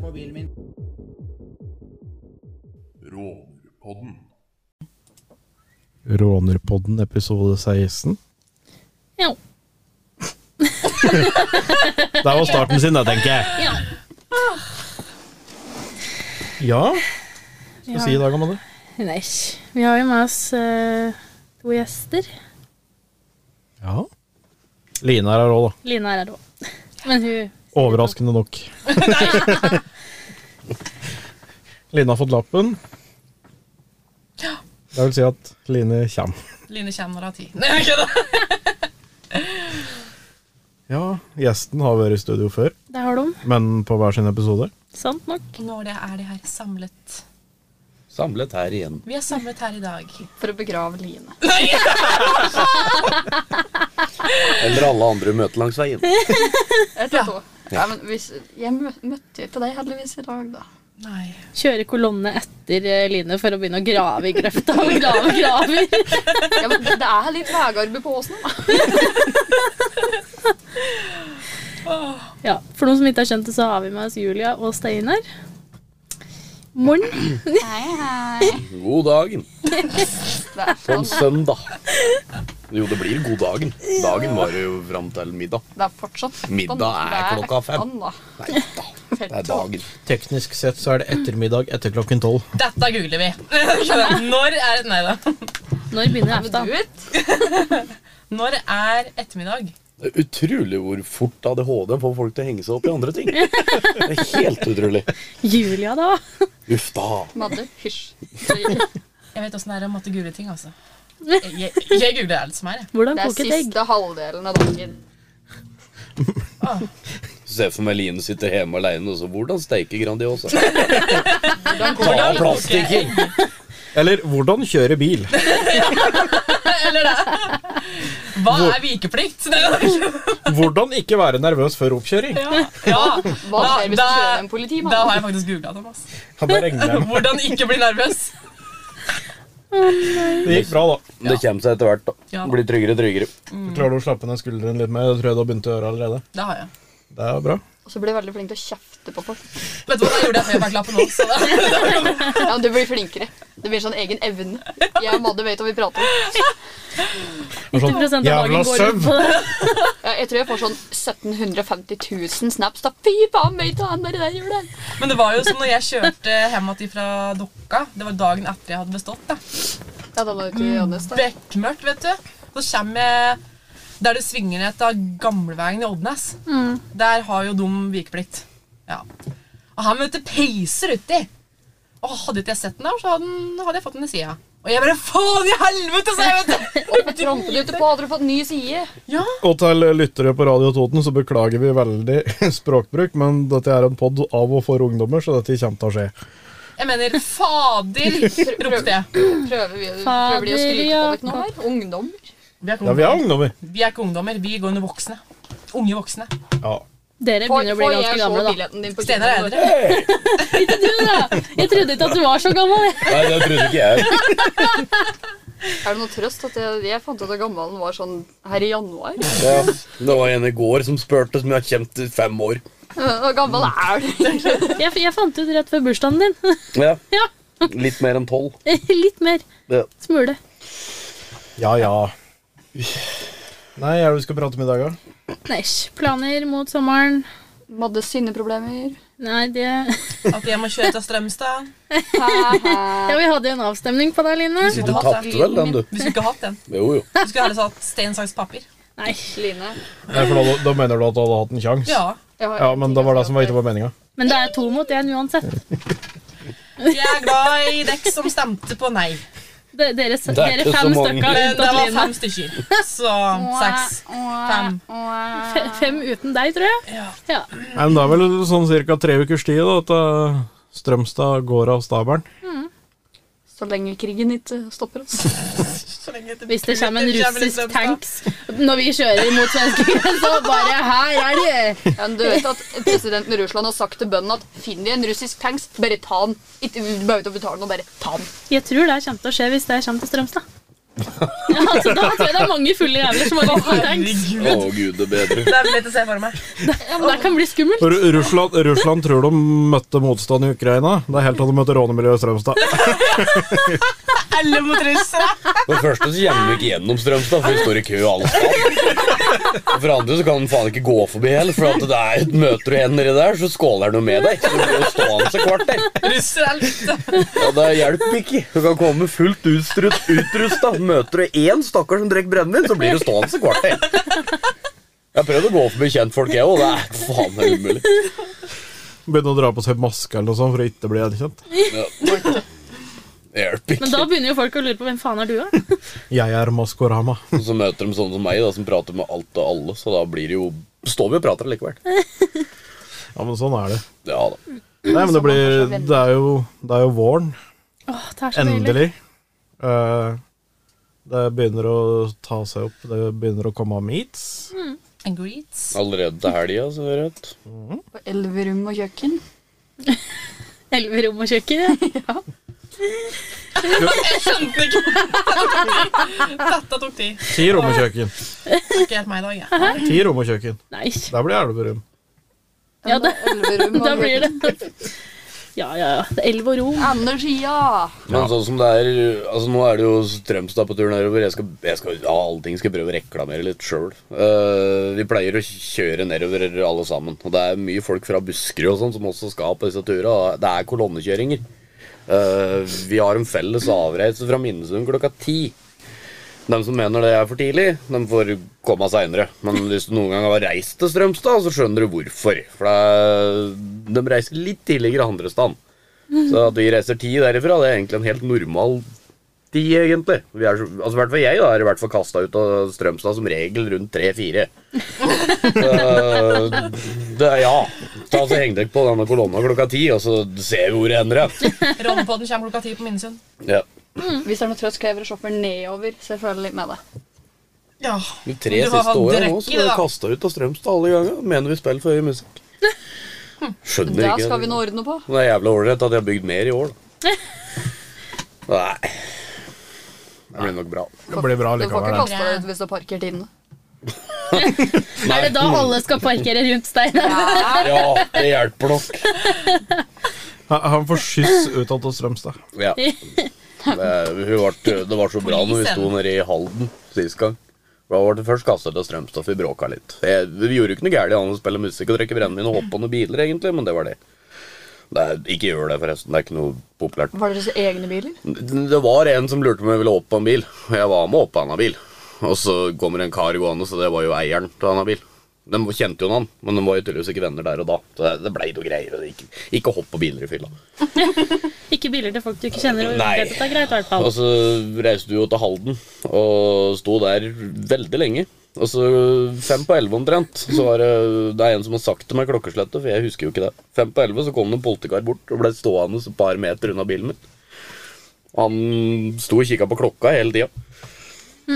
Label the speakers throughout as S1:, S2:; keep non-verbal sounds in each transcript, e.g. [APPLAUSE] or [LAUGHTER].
S1: mobilen min.
S2: Rånerpodden.
S3: Rånerpodden episode 16. [LAUGHS]
S4: Ja.
S3: Der var starten sin, da, tenker jeg.
S4: ja.
S3: Ja, skal
S4: Ja.
S3: si i dag, Amanda.
S4: Nei, vi har jo med oss eh, to gjester.
S3: Ja. Line er her òg, da.
S4: Line er her òg. Men hun
S3: Overraskende
S4: [LAUGHS]
S3: nok. Line har fått lappen. Det vil si at Line kommer.
S5: Line kommer når hun har tid. Nei, jeg kødder.
S3: Ja, gjesten har vært i studio før,
S4: Det har de.
S3: men på hver sin episode.
S4: Sant nok.
S5: Når det er de her samlet.
S1: Samlet her igjen.
S5: Vi er samlet her i dag.
S6: For å begrave Line.
S1: Eller alle andre møter langs veien.
S6: Eller to. Ja, men hvis, jeg mø møtte jo ikke deg heldigvis i dag, da.
S5: Nei.
S4: Kjører kolonne etter eh, Line for å begynne å grave i grøfta. Og grave og graver.
S6: Ja, men det er litt vegarbeid på åsen, da.
S4: Ja, For noen som ikke har skjønt det, så har vi med oss Julia og Steinar. Morn.
S6: Hei, hei.
S1: God dagen.
S6: Det er,
S1: På en søndag. Jo, det blir god dagen. Dagen varer jo fram til middag.
S6: det er fortsatt fett, da.
S1: Middag er
S6: Det
S1: klokka fem.
S6: fett, da.
S1: Nei da. Det er dagen.
S3: Teknisk sett så er det ettermiddag etter klokken tolv.
S5: Dette googler vi. [LAUGHS] Når er Nei da.
S4: Når begynner
S6: Men
S4: EFTA?
S6: du vet,
S5: Når er ettermiddag?
S1: Det er utrolig hvor fort ADHD får folk til å henge seg opp i andre ting. Det er helt utrolig.
S4: Julia, da?
S1: Uff da.
S6: Madde, hysj.
S5: Jeg vet åssen det er å måtte google ting, altså. Jeg, jeg, jeg googler alt som er, jeg.
S4: Hvordan
S6: Det er
S4: koke et egg?
S6: siste halvdelen av dagen.
S1: Se for meg Line sitter hjemme alene og så Hvordan steike Grandiosa? Ta
S5: Hvordan
S1: plastikken!
S3: Eller hvordan kjøre bil.
S5: [LAUGHS] Eller det. Hva er vikeplikt? Nei, da.
S3: Hvordan ikke være nervøs før oppkjøring.
S5: Ja. ja.
S6: Hva
S5: Da-
S6: skjer hvis du
S5: da-
S6: kjører en
S5: Da
S6: politimann?
S5: har jeg faktisk googla dem. Altså.
S3: Ja, det regner jeg med.
S5: Hvordan ikke bli nervøs.
S3: Det gikk bra, da.
S1: Men Det kommer seg etter hvert. da.
S5: Ja.
S1: Blir tryggere og tryggere.
S4: Mm.
S3: Klarer du å slappe ned skulderen litt mer? Det tror jeg du har begynt å gjøre allerede.
S5: Det har jeg.
S3: Det er bra.
S6: Og så blir du veldig flink til å kjefte på folk.
S5: Vet du hva, da gjorde jeg feberklappen òg, så da. [LAUGHS]
S6: Ja, men Du blir flinkere. Det blir sånn egen evne. Jeg og Madde vet hva vi prater om.
S4: 90 av dagen
S3: sånn, Jævla
S4: går ut på det.
S6: Ja, Jeg tror jeg får sånn 1750 000 snaps. da. Fy faen, meg ta den der i jula!
S5: Men det var jo som når jeg kjørte hjem igjen fra Dokka. Det var dagen etter jeg hadde bestått. da.
S6: Ja, da var det til Johannes, da.
S5: bekmørkt, vet du. Så kommer jeg der det svinger ned til gamleveien i Oddnes. Der har jo de vikeplikt. Ja. Og han møtte peiser uti. Og hadde ikke jeg sett den der, så hadde, den, hadde jeg fått den i sida. Og jeg bare faen i helvete, sa jeg, vet du.
S6: Hvorfor trampet du ikke på? Hadde du fått ny side?
S5: Ja.
S3: Og til lyttere på Radio Toten så beklager vi veldig [LAUGHS] språkbruk, men dette er en pod av og for ungdommer, så dette kommer til å skje.
S5: Jeg mener fader, ropte jeg.
S6: Prøver vi prøver de å skryte på dere nå her? Ungdommer?
S5: Vi er ikke
S3: Ja, vi er
S5: ungdommer.
S3: ungdommer.
S5: Vi er ikke ungdommer. Vi går under voksne. Unge voksne.
S3: Ja.
S4: Dere
S6: Får
S4: begynner å bli
S6: får
S4: ganske
S6: jeg så
S4: gamle, da.
S6: billetten din på
S5: Steinar er
S6: kino?
S5: eldre.
S4: Ikke du, da! Jeg trodde ikke at du var så gammel. jeg.
S1: Nei, det trodde ikke jeg.
S6: Er det noe trøst at jeg, jeg fant ut at gammelen var sånn her i januar? [LAUGHS]
S1: Ja. Det var en i går som spurte som jeg har kjent i fem år.
S6: Hvor gammel er du? [LAUGHS]
S4: Jeg, jeg fant ut rett før bursdagen din. [LAUGHS]
S1: Ja.
S4: Ja,
S1: Litt mer enn tolv.
S4: Litt mer.
S1: Ja.
S4: Smule.
S3: ja ja. Nei, er det du skal prate om i dag, da?
S4: Næsj. Planer mot sommeren.
S6: Madde sinneproblemer.
S4: Nei, det [LAUGHS]
S5: At jeg må kjøre til Strømstad.
S6: Hæ-hæ.
S4: Ja, vi hadde jo en avstemning på deg, Line.
S5: Du
S1: Du tapte vel den, du?
S5: Du skulle ikke hatt den.
S1: Jo, jo.
S5: Du skulle heller hatt stein, saks, papir.
S4: Nei.
S6: Line.
S3: Nei, for da, da mener du at du hadde hatt en sjanse?
S5: Ja.
S6: jeg har
S3: ja,
S6: en
S3: men
S6: ting
S3: det var
S6: jeg
S3: det som var
S6: skal
S3: ikke var meninga.
S4: Men det er to mot én uansett.
S5: Jeg er glad i dekk som stemte på nei.
S4: De- Dere, s-
S1: Det er
S4: dere
S1: ikke så
S4: fem
S1: mange.
S4: stykker
S5: Det, det
S4: unntatt
S5: var
S4: Line.
S5: fem stykker. Så seks. Fem.
S6: eh,
S4: Fe- Fem uten deg, tror jeg.
S5: Ja.
S4: Ja.
S3: Nei, men Det er vel sånn ca. tre ukers tid da, at eh, Strømstad går av stabelen.
S6: Så lenge krigen ikke stopper oss.
S5: Så lenge etter
S4: Hvis det
S5: Putin
S4: kommer en
S5: kommer i
S4: russisk
S5: Strømstad.
S4: tanks [LAUGHS] når vi kjører mot svenskegrensa, bare her er de!
S6: [LAUGHS] Ja, men du vet at Presidenten i Russland har sagt til bøndene at finner de en russisk tanks, bare ta den. Ikke behøver å betale noe, bare ta den.
S4: Jeg tror det kommer til å skje hvis det kommer til Strømstad. Ja, altså, da tror jeg det er mange fulle jævler som har gått på tanks.
S5: Herregud.
S1: Å gud, det bedre.
S5: Det er lett å se for meg.
S4: Det kan bli skummelt.
S3: Ru- Russland, Russland tror de møtte motstand i Ukraina. Det er helt til de møter rånemiljøet i Strømstad. [LAUGHS]
S5: Alle mot russere.
S1: For det første så kommer vi ikke gjennom Strømstad, for vi står i kø alle steder. Og for det andre så kan den faen ikke gå forbi heller, for at det er et møter du en nedi der, så skåler han jo med deg. Så du blir jo stående et kvarter.
S5: Russere er lett.
S1: Ja, det hjelper ikke. Du kan komme fullt utstrutt, utrusta. Møter du én stakkar som drikker brennevin, så blir du stående et kvarter. Jeg har prøvd å gå forbi kjentfolk, jeg òg. Det er faen meg umulig.
S3: Begynner å dra på seg maske eller noe sånt for å ikke bli gjenkjent.
S1: Ja. Det
S4: Men
S1: hjelper ikke.
S4: da begynner jo folk å lure på hvem faen er du, da?
S3: Jeg er Maskorama.
S1: Og så møter de sånne som meg, da, som prater med alt og alle. Så da blir det jo Står vi og prater likevel.
S3: Ja, men sånn er det.
S1: Ja da.
S3: Nei, men det blir Det er jo, det er jo våren.
S4: Åh, det er så deilig.
S3: Endelig. Eh, det begynner å ta seg opp. Det begynner å komme meats.
S5: And greets.
S1: Allerede til altså, helga, så hører jeg.
S6: På elverum og kjøkken.
S4: Elleve rom og kjøkken.
S5: Jeg skjønte ikke. Dette tok tid.
S3: Ti rom og kjøkken.
S5: Ikke helt meg i dag, jeg.
S3: Ti rom og kjøkken.
S4: Nei.
S3: Der blir det elverum.
S4: Ja, det-
S6: [LAUGHS] Elverum
S4: Da blir det [LAUGHS] Ja, ja, ja. Det er Elv og rom.
S6: Anders, ja!
S1: Men sånn som det er Altså Nå er det jo Strømstad på tur nedover. Jeg skal, jeg skal ja, allting skal jeg prøve å reklamere litt sjøl. vi pleier å kjøre nedover alle sammen. Og det er mye folk fra Buskerud og sånn som også skal på disse turene. og Det er kolonnekjøringer. Eh, vi har en felles avreise fra Minnesund klokka ti. De som mener det er for tidlig, de får komme seinere. Men hvis du noen gang har reist til Strømstad, så skjønner du hvorfor. For det er, de reiser litt tidligere andre steder. Så at vi reiser ti derifra, det er egentlig en helt normal ti, egentlig. Vi er, så- altså, I hvert fall jeg da, er i hvert fall kasta ut av Strømstad som regel rundt
S6: [LAUGHS]
S1: tre-fire. Så, det er- ja. Ta så Heng dere på denne kolonna klokka ti, og så ser vi hvor det ender. Ja.
S5: Rånepodden kommer klokka ti på Minnesund.
S1: Ja.
S6: [LAUGHS] Hvis det er noe trøst, krever det shopper nedover. Så jeg følger litt med det.
S5: Ja.
S1: De tre
S5: Men du har
S1: siste
S5: hatt
S1: åra
S5: drekk
S1: nå
S5: i
S1: så ble
S5: det,
S1: jeg
S5: da.
S1: kasta ut av Strømstad alle ganger. Mener vi spiller for høy musikk. Skjønner
S6: Det
S1: ikke.
S6: skal vi nå ordne på.
S1: Det er jævla ålreit at jeg har bygd mer i år,
S6: [LAUGHS]
S1: da. Nei. Det blir nok bra.
S3: Det blir bra
S6: Du får ikke
S3: likevel. det.
S6: kaste deg ut hvis du parkerer tiden.
S4: Er det da alle skal parkere rundt steinen?
S1: Ja, det hjelper nok.
S3: Han han får skyss utad av Strømstad.
S1: Ja. Det, hun ble, det var så bra når vi sto nede i Halden sist gang. Da ble det først kastet til Strømstad, for vi bråka litt. Jeg, vi gjorde jo ikke noe gærent annet enn å spille musikk og drikke brennevin og hoppe på noen biler, egentlig, men det var det. det er, ikke gjør det, forresten. Det er ikke noe populært.
S6: [LAUGHS] Var det deres egne biler?
S1: Det var en som lurte på om jeg ville opp på en bil, og jeg var med opp på en annen bil. Og så kommer en kar gående, så det var jo eieren til en annen bil. De kjente jo han, men de var jo tydeligvis ikke venner der og da. Så det, det blei noe greier. og det Ikke, ikke hopp på biler i fylla.
S4: [LAUGHS] Ikke biler til folk du ikke kjenner. Og
S1: Nei. Altså-
S4: det er greit, i hvert fall.
S1: [LAUGHS] Og så reiste vi jo til Halden og sto der veldig lenge. Og så fem på elleve omtrent, så var det, det er en som har sagt til meg klokkeslettet, for jeg husker jo ikke det. Fem på elleve så kom det en politikar bort og ble stående et par meter unna bilen min. Og Han sto og kikka på klokka hele tida.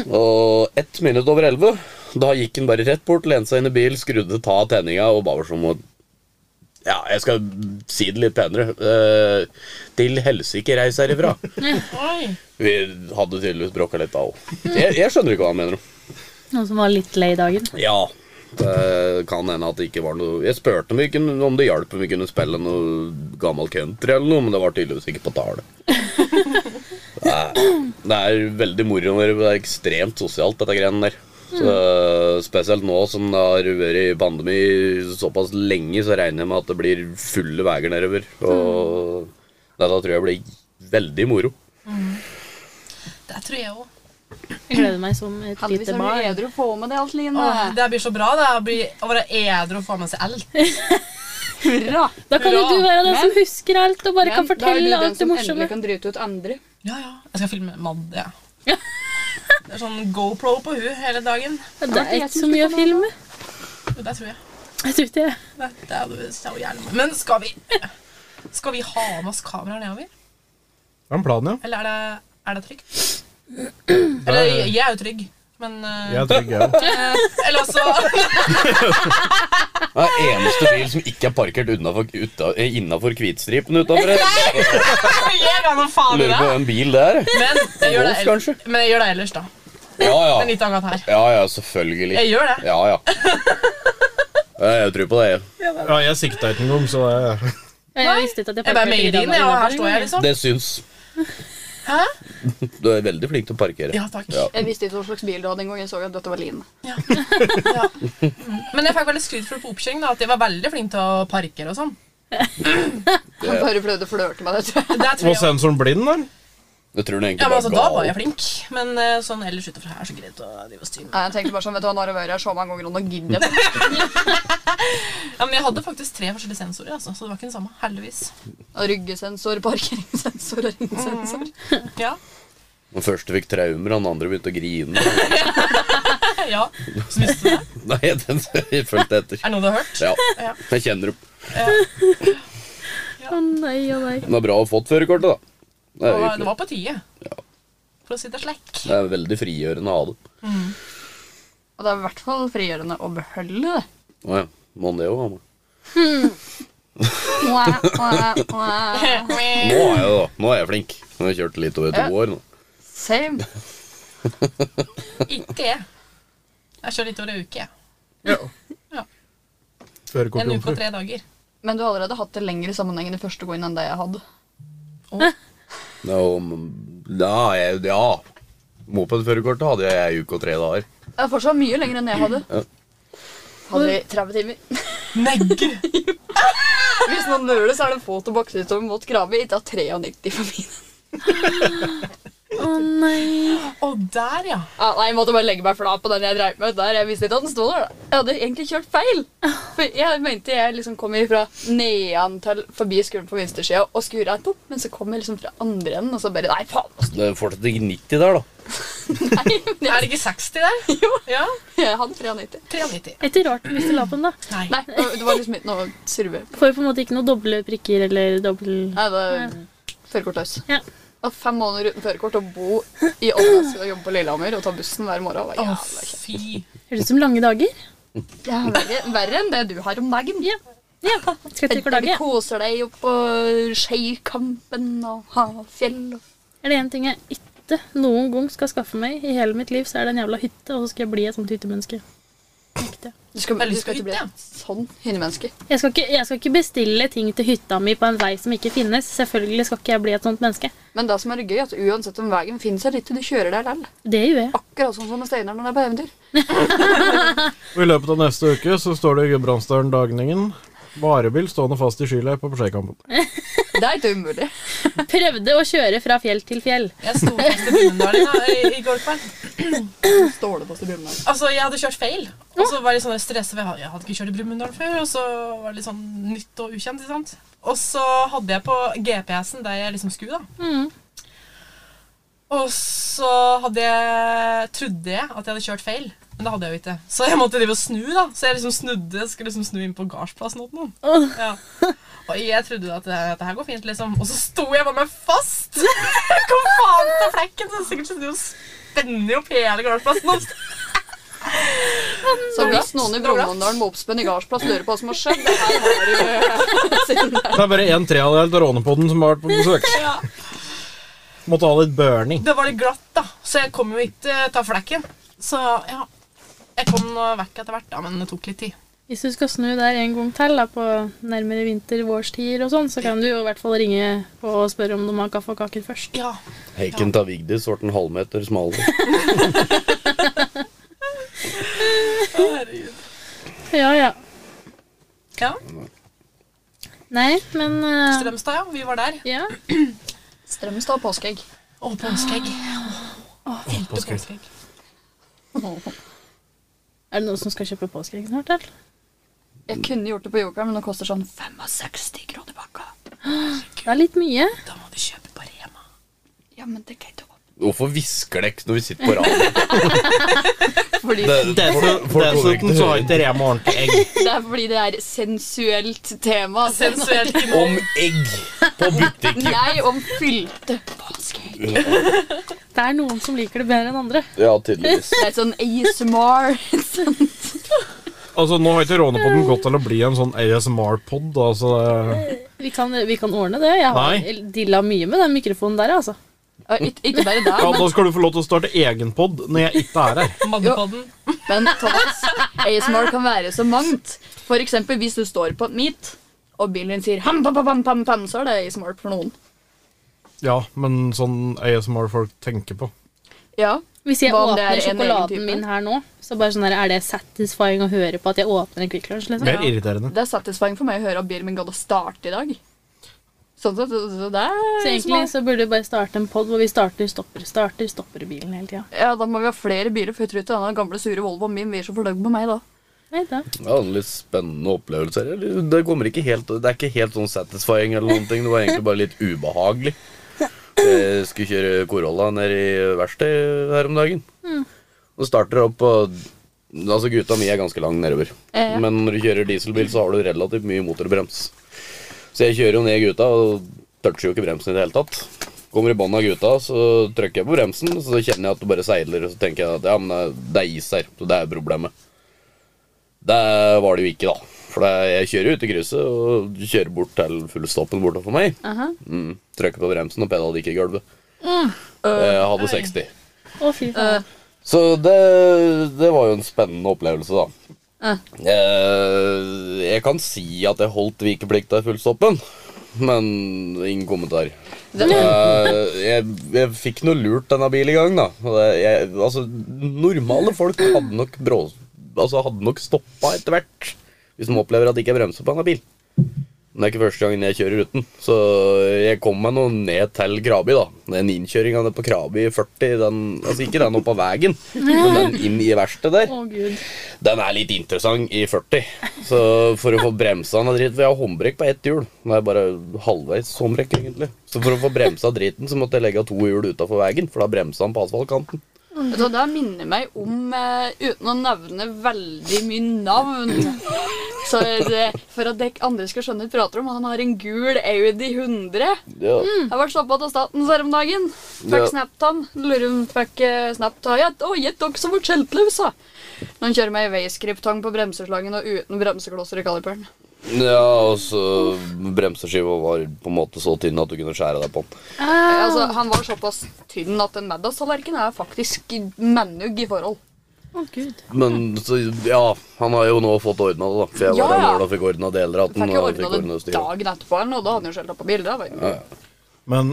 S1: Og ett minutt over elleve, da gikk han bare rett bort, lente seg inn i bil, skrudde ta av tenninga og bare var som å Ja, jeg skal si det litt penere. eh, til helsike, reis herifra.
S5: Oi.
S1: Vi hadde tydeligvis bråka litt da òg. Jeg, jeg skjønner ikke hva han mener.
S4: Noen som var litt lei dagen.
S1: Ja, det kan hende at det ikke var noe Jeg spurte om, vi kunne, om det hjalp om vi kunne spille noe gammel country eller noe, men det var tydeligvis ikke på tale. Det er, det er veldig moro å være det er ekstremt sosialt, dette greiene der. Så, spesielt nå som det har vært i pandemi såpass lenge, så regner jeg med at det blir fulle veier nedover. Og dette tror jeg blir veldig moro.
S5: Det tror jeg òg.
S4: Jeg gleder meg som et
S6: Heldigvis
S4: lite
S6: er du
S4: barn.
S6: edru på med det alt, Line.
S5: Det blir så bra det er å bli- å være edru og få med seg alt.
S6: Hurra!
S4: Da kan jo
S5: Hurra.
S4: du være den som
S6: Men-
S4: husker alt og bare kan
S6: Men da er du
S4: fortelle
S6: den
S4: alt det
S6: som endelig
S4: morsomme.
S6: kan drite ut andre.
S5: Ja, ja. Jeg skal filme Mad,
S4: [LAUGHS]
S5: ja. Det er sånn GoPro på hun hele dagen.
S4: Det er ikke så mye å filme.
S5: Jo, Det tror jeg.
S4: Jeg tror ikke det.
S5: Det, det er, det er jo gjerne. Men skal vi [LAUGHS] Skal vi ha med oss kameraer nedover?
S3: Det er en plan, ja.
S1: [CLEARS THROAT]
S5: Eller er det, er det trygt? Eller jeg jeg er jo trygg. men eh,
S3: Jeg er trygg, jeg òg.
S5: [LAUGHS] Eller [LAUGHS] altså
S1: Det er eneste bil som ikke er parkert utenfor- uta- eh, innenfor hvitstripen utafor.
S5: Gjør da noe faen i
S1: Lurer på
S5: det?
S1: hvem bil det er.
S5: Men jeg gjør det,
S1: Golf,
S5: el
S1: kanskje?
S5: men jeg gjør det ellers, da.
S1: Ja,
S5: En
S1: ja.
S5: liten aggat her.
S1: Ja, ja, selvfølgelig.
S5: Jeg gjør det.
S1: Ja, ja.
S5: [LAUGHS]
S1: Eh, Jeg tror på det. jeg.
S3: Ja, jeg sikta ikke engang, så jeg
S4: Ja, jeg visste ikke at jeg
S5: Jeg bare
S4: parkerte
S5: made in,
S4: Granavolden
S5: ja, og her
S4: engang,
S5: står jeg,
S4: jeg.
S5: liksom.
S1: Det syns.
S5: Hæ?
S1: Du er veldig flink til å parkere.
S5: Ja, takk.
S1: Ja.
S6: Jeg visste ikke hva slags bil du hadde engang. Jeg så at dette var Line.
S5: Men jeg fikk veldig skryt for på oppkjøring, da, at jeg var veldig flink til å parkere og sånn.
S6: Han bare prøvde å flørte med deg, tror jeg.
S5: Det tror
S3: Var
S5: jeg
S3: sensoren blind, der?
S1: Jeg tror den egentlig
S5: ja, men
S1: bare
S5: altså, Da
S1: gal.
S5: var jeg flink, men eh, sånn ellers utenfor her er så greit å drive og styre.
S6: Nei, jeg tenkte bare sånn, vet du, Han har vært her så mange ganger, og nå gidder jeg ikke.
S5: Ja, men jeg hadde faktisk tre forskjellige sensorer, altså, så det var ikke den samme. Heldigvis.
S6: Ryggesensor, parkeringssensor og ringsensor.
S5: Ja, [LAUGHS]
S1: Den første fikk traumer, han andre begynte å grine. [LAUGHS]
S5: ja. Så visste du det.
S1: Nei, den jeg fulgte etter.
S5: Er det noe du har hørt?
S1: Ja,
S5: Ja.
S1: jeg kjenner det.
S4: Å nei, å nei.
S1: Men det er bra å ha fått førerkortet, da. Det
S5: Det
S1: er,
S5: var, det
S1: hyggelig.
S5: var på tide. For å si det slekk.
S1: det er veldig frigjørende å ha det.
S6: Og det er i hvert fall frigjørende å beholde det.
S1: Å ja. Må han det òg, Anna?
S6: Mwah, mwah, mwah.
S1: Nå er jeg det, da. Nå er jeg flink. Nå har jeg kjørt litt over to
S6: Ja.
S1: år nå.
S6: Same.
S5: [LAUGHS] Ikke jeg. Jeg kjører litt over ei uke. jeg. En
S3: Førerkort
S5: uke og
S3: jomfru.
S5: tre dager.
S6: Men du har allerede hatt det lenger i sammenhengende første gangen enn det jeg hadde.
S1: Ja, og- ja, jeg, ja. Mopedførerkortet hadde jeg ei uke og tre dager.
S6: Det er fortsatt mye lenger enn jeg hadde.
S1: Ja.
S6: Hadde i 30 timer. [LAUGHS]
S5: Negger!
S6: Hvis noen lurer det, så er det få tilbake til Tom mot Krabbe. Ikke av 93 for min.
S4: Å nei.
S5: Og der, ja.
S6: Ja, nei, jeg måtte bare legge meg flat på den jeg dreiv med. Der, Jeg visste ikke at den sto der. da. Jeg hadde egentlig kjørt feil. For Jeg mente jeg liksom kom fra nedan til forbi skolen på venstresida og skulle rett opp, men så kom jeg liksom fra andre enden, og så bare Nei, faen! altså.
S1: Det er fortsatt ikke 90 der, da.
S5: Er det ikke 60 der?
S6: Jo,
S5: Ja.
S6: [LAUGHS] jeg hadde 93.
S5: 93.
S4: Er ikke rart hvis du la på den, da.
S5: Nei.
S6: Nei, det var liksom ikke noe surve.
S4: Får jo på en måte ikke noe doble prikker eller dobbel
S6: Nei, det er førerkortløs.
S4: Ja.
S6: Og fem måneder uten førerkort og bo i Åndalsnes og jobbe på Lillehammer og ta bussen hver morgen. var
S5: Å,
S6: jævla kjedelig.
S5: fy.
S4: Høres ut som lange dager.
S6: Det er verre, verre enn det du har om dagen.
S4: Ja. Ja, skal jeg til å
S6: Der du
S4: klage.
S6: koser deg opp på Skeikampen og Hafjell. og-
S4: Er det én ting jeg ikke noen gang skal skaffe meg i hele mitt liv, så er det en jævla hytte, og så skal jeg bli et sånt hyttemenneske. Nekte.
S6: Du skal,
S5: Veldig
S6: du skal ikke bli
S5: hytte, ja.
S6: et sånn hundemenneske.
S4: Jeg skal, ikke, jeg skal ikke bestille ting til hytta mi på en vei som ikke finnes. Selvfølgelig skal ikke jeg bli et sånt menneske.
S6: Men det som er gøy, er at uansett om veien finnes eller ikke, du kjører der likevel.
S4: Det gjør jeg.
S6: Akkurat sånn som med Steinar når han er på eventyr.
S3: Og I løpet av neste uke så står det i Gudbrandsdølen Dagningen varebil stående fast i skyleiet på Skeikampen.
S6: Det er ikke umulig.
S4: Prøvde å kjøre fra fjell til fjell.
S5: Jeg sto fast i Brumunddalen da, i- i går kveld.
S6: Ståle på Stibrumland.
S5: Altså, jeg hadde kjørt feil. Og så var jeg litt sånn stressa, for jeg hadde- jeg hadde ikke kjørt i Brumunddal før. Og så var det litt sånn nytt og ukjent. ikke sant? Og så hadde jeg på GPS-en der jeg liksom skulle, da. Og så hadde jeg trodde jeg at jeg hadde kjørt feil, men det hadde jeg jo ikke. Så jeg måtte drive og snu, da. Så jeg liksom snudde, skulle liksom snu inn på gardsplassen åt noen. Ja. Og jeg trodde at det, at det her går fint, liksom. Og så sto jeg bare meg fast! [LAUGHS] Kom faen til flekken! Så sikkert så du spenner jo opp hele gardsplassen. og
S6: Så hvis noen i Brumunddal med oppspenn i gardsplass lurer på hva som har skjedd det her har du- eh, [LAUGHS] siden det.
S3: Det er bare en tredjedel av rånepodden som har vært på besøk. [LAUGHS] Måtte ha litt burning.
S5: Det var litt glatt, da, så jeg kom jo ikke til flekken. Så ja. Jeg kom nå vekk etter hvert, da, men det tok litt tid.
S4: Hvis du skal snu der en gang til, da, på nærmere vinter-vårstider og sånn, så kan du jo i hvert fall ringe på og spørre om de har kaffe og kaker først.
S5: Ja.
S1: Hekken til Vigdis ble en halvmeter smalere.
S4: Ja, ja.
S5: ja.
S4: Nei, men eh,
S5: Strømstad, ja. Vi var der.
S4: Ja.
S6: Strømstad og påskeegg.
S5: Og påskeegg. Helt påskeegg.
S4: Er det noen som skal kjøpe påskeegg snart, eller?
S6: Jeg kunne gjort det på Jokeren, men det koster sånn 65 kroner pakka.
S4: Det er litt mye.
S5: Da må du kjøpe på Rema.
S6: Ja, men det kan jeg ikke åpne.
S1: Hvorfor hvisker dere når vi sitter på radio?
S6: Fordi det,
S1: Det- folk- folk kommer ikke
S3: Dessuten
S1: til å
S3: så har
S1: høre.
S3: ikke Rema ordentlig egg.
S6: er fordi det er sensuelt tema. Altså,
S5: Sensuelt innhold.
S1: Om egg på butikken.
S6: Nei, om fylte påskeegg.
S4: Det Det er noen som liker det bedre enn andre.
S1: Ja, tydeligvis.
S6: Det er et sånn [LAUGHS] ASMR. et sånt-
S3: Altså, nå har ikke Rånepodden gått til å bli en sånn ASMR-pod, da, så det
S4: Vi kan, vi kan ordne det. Jeg
S3: Nei.
S4: har dilla mye med den mikrofonen der, altså.
S6: Ja, ikke, ikke bare det,
S3: ja,
S6: men,
S3: Da skal du få lov til å starte egen pod når jeg ikke er
S5: [LAUGHS]
S3: her.
S5: Mannepodden.
S6: men Thomas, ASMR kan være så mangt. For eksempel hvis du står på et meet, og bilen din sier ham, pam, pam, pam, pam, pam, så er det ASMR for noen.
S3: Ja, men sånn ASMR-folk tenker på.
S6: Ja,
S4: Hvis jeg
S6: Hva om det er
S4: åpner
S6: en egen type?
S4: sjokoladen min her nå, så bare sånn der, er det satisfying å høre på at jeg åpner en Quick Lunch? Liksom?
S3: Mer irriterende.
S6: Det er satisfying for meg å høre at bilen min gadd å starte i dag. Sånn sett, så- så det er
S4: Så egentlig
S6: smart.
S4: så burde vi bare starte en pod hvor vi starter, stopper, starter, stopper bilen hele tida.
S6: Ja, da må vi ha flere biler, for jeg tror ikke denne gamle sure Volvoen min blir så fornøyd med meg da.
S4: Nei da.
S1: Ja, en litt spennende opplevelse. eller? Det kommer ikke helt Det er ikke helt sånn satisfying eller noen ting. Det var egentlig bare litt ubehagelig. Jeg skulle kjøre Corolla ned i verksted her om dagen.
S6: Mm.
S1: Og starter opp og Altså, gutta mi er ganske lang nedover.
S6: Ja, ja.
S1: Men når du kjører dieselbil, så har du relativt mye motorbrems. Så jeg kjører jo ned gutta og toucher jo ikke bremsen i det hele tatt. Kommer i bånn av gutta, så trykker jeg på bremsen, så kjenner jeg at det bare seiler. Og så tenker jeg at ja, men det- det er is her, så det er problemet. Det var det jo ikke, da. For det, jeg kjører ut i krysset og kjører bort til fullstoppen bortenfor meg. Mm, Trykker på bremsen og pedalen gikk i gulvet. jeg hadde 60.
S4: Å, fy
S6: Eh.
S4: faen.
S1: Så det, det var jo en spennende opplevelse, da. Eh, jeg kan si at jeg holdt vikeplikt av fullstoppen, men ingen kommentar. Eh, jeg, jeg fikk noe lurt denne bilen i gang, da. Og det- Jeg, altså, normale folk hadde nok, brå, altså, hadde nok stoppa etter hvert hvis de opplever at det ikke er bremser på denne bilen. Men det er ikke første gangen jeg kjører uten, så jeg kom meg nå ned til Krabi. da Den innkjøringa ned på Krabi i 40, den, altså ikke den opp av veien, men den inn i verkstedet der.
S4: Å, gud.
S1: Den er litt interessant i 40. Så for å få bremsa den og dritt For jeg har håndbrekk på ett hjul. Det er bare halvveis håndbrekk, egentlig. Så for å få bremsa driten, så måtte jeg legge to hjul utafor veien, for da bremsa han på asfaltkanten.
S6: Så det minner meg om, eh, uten å nevne veldig mye navn
S4: [LAUGHS]
S6: Så det, For at dere andre skal skjønne hva jeg prater om, han har en gul Audi 100.
S1: Ja.
S6: Jeg ble stoppa av staten her om dagen. Fikk
S1: Ja.
S6: snapt han. Lurer om fikk eh, snapt av gjett. Å, gjett dere som ble skjeltløse! Når han kjører med ei veiskriptang på bremseslangen og uten bremseklosser i kaliperen.
S1: ja, og så bremseskiva var på en måte så tynn at du kunne skjære deg på den.
S6: Altså, han var såpass tynn at en middagstallerken er faktisk mennugg i forhold.
S4: Å, gud.
S1: Men så, ja, han har jo nå fått ordna det, da. For jeg
S6: Ja,
S1: var der
S6: ja.
S1: når da fikk ordna deler av
S6: Fikk
S1: den.
S6: jo
S1: og
S6: ordna
S1: fikk
S6: det
S1: ordnet styret.
S6: dagen etterpå, eller noe, da hadde han jo skjelta på bildet. da.
S3: Men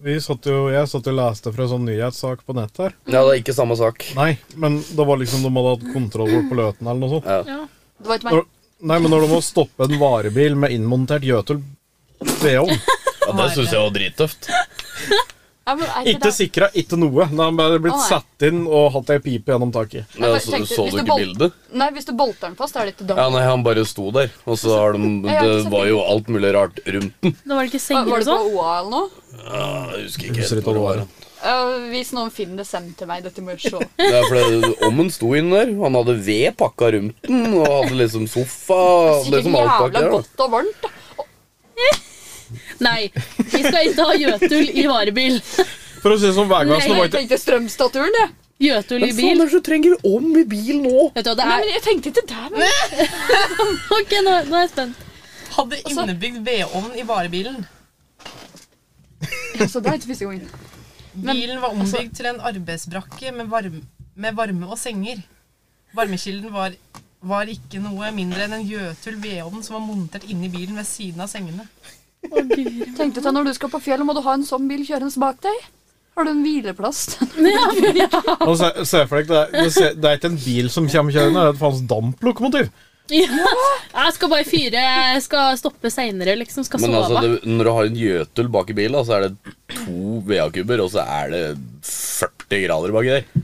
S3: vi satt jo, jeg satt jo og leste fra en sånn nyhetssak på nett her.
S1: Ja, det er ikke samme sak.
S3: Nei, men det var liksom de hadde hatt kontroll over løten eller noe sånt.
S4: Ja.
S6: Det var ikke meg.
S3: Når, nei, men når de må stoppe en varebil med innmontert Jøtul vedovn
S1: Ja, det syns jeg var drittøft.
S6: Ja, men er
S3: Ikke
S6: det-
S3: sikra, ikke noe. De har bare blitt
S6: Å, nei.
S3: satt inn og hatt ei pipe gjennom taket.
S1: Ja,
S6: Jeg
S1: så,
S6: tenkte,
S1: så
S6: hvis
S1: du
S6: du
S1: ikke
S6: bolt-
S1: bildet?
S6: Nei, hvis du bolter den fast, er det ikke dumt.
S1: Ja, nei, han bare sto der, og så har de
S6: har ikke
S1: Det
S6: sett
S1: var jo alt mulig rart rundt den.
S4: Da var det ikke
S6: Var
S4: senger
S6: var
S4: og
S6: det på
S4: sånn?
S6: OA eller noe?
S1: Ah, Jeg husker ikke
S3: Husker
S1: helt
S3: ikke
S1: hvor det
S3: hva
S1: var.
S3: det
S6: Eh, hvis noen finner det, send til meg. Dette må jeg se.
S1: Det er fordi Ommen sto inne der. Han hadde ved pakka rundt den, og hadde liksom sofa og
S6: Sikkert
S1: liksom alt bak
S6: jævla
S1: der. da.
S6: godt og varmt. da.
S4: Nei, vi skal ikke ha Jøtul i varebil. [LAUGHS]
S3: For å si det sånn, som Vegvesenet
S4: Nei,
S3: var
S6: Jeg
S3: ikke
S6: tenkte Strømstaturen, jeg.
S4: Jøtul i
S1: Men faen,
S4: bil.
S1: ellers så trenger vi om i bil nå!
S4: Vet du hva det
S6: Nei,
S4: er?
S6: men jeg tenkte ikke det. Men...
S4: Ok, nå, nå er jeg spent. [LAUGHS]
S5: Hadde innebygd vedovn i varebilen.
S6: Så det er ikke første gangen.
S5: Bilen var ombygd til en arbeidsbrakke med varme, med varme og senger. Varmekilden var, var ikke noe mindre enn en gjøtul vedovn som var montert inni bilen ved siden av sengene.
S4: Å, gud.
S6: Tenkte jeg når du skal på fjellet, må du ha en sånn bil kjørende bak deg. Har du en hvileplass?
S3: Og se, se for deg, det, er, det, ser- det er ikke en bil som kommer kjørende, det er et faens damplokomotiv.
S4: Ja. Jeg skal bare fyre. Jeg skal stoppe seinere, liksom. Skal
S1: Men
S4: sove.
S1: altså, det, når du har en gjøtul bak i bilen, da, så er det to VA-kubber, og så er det 40 grader baki der.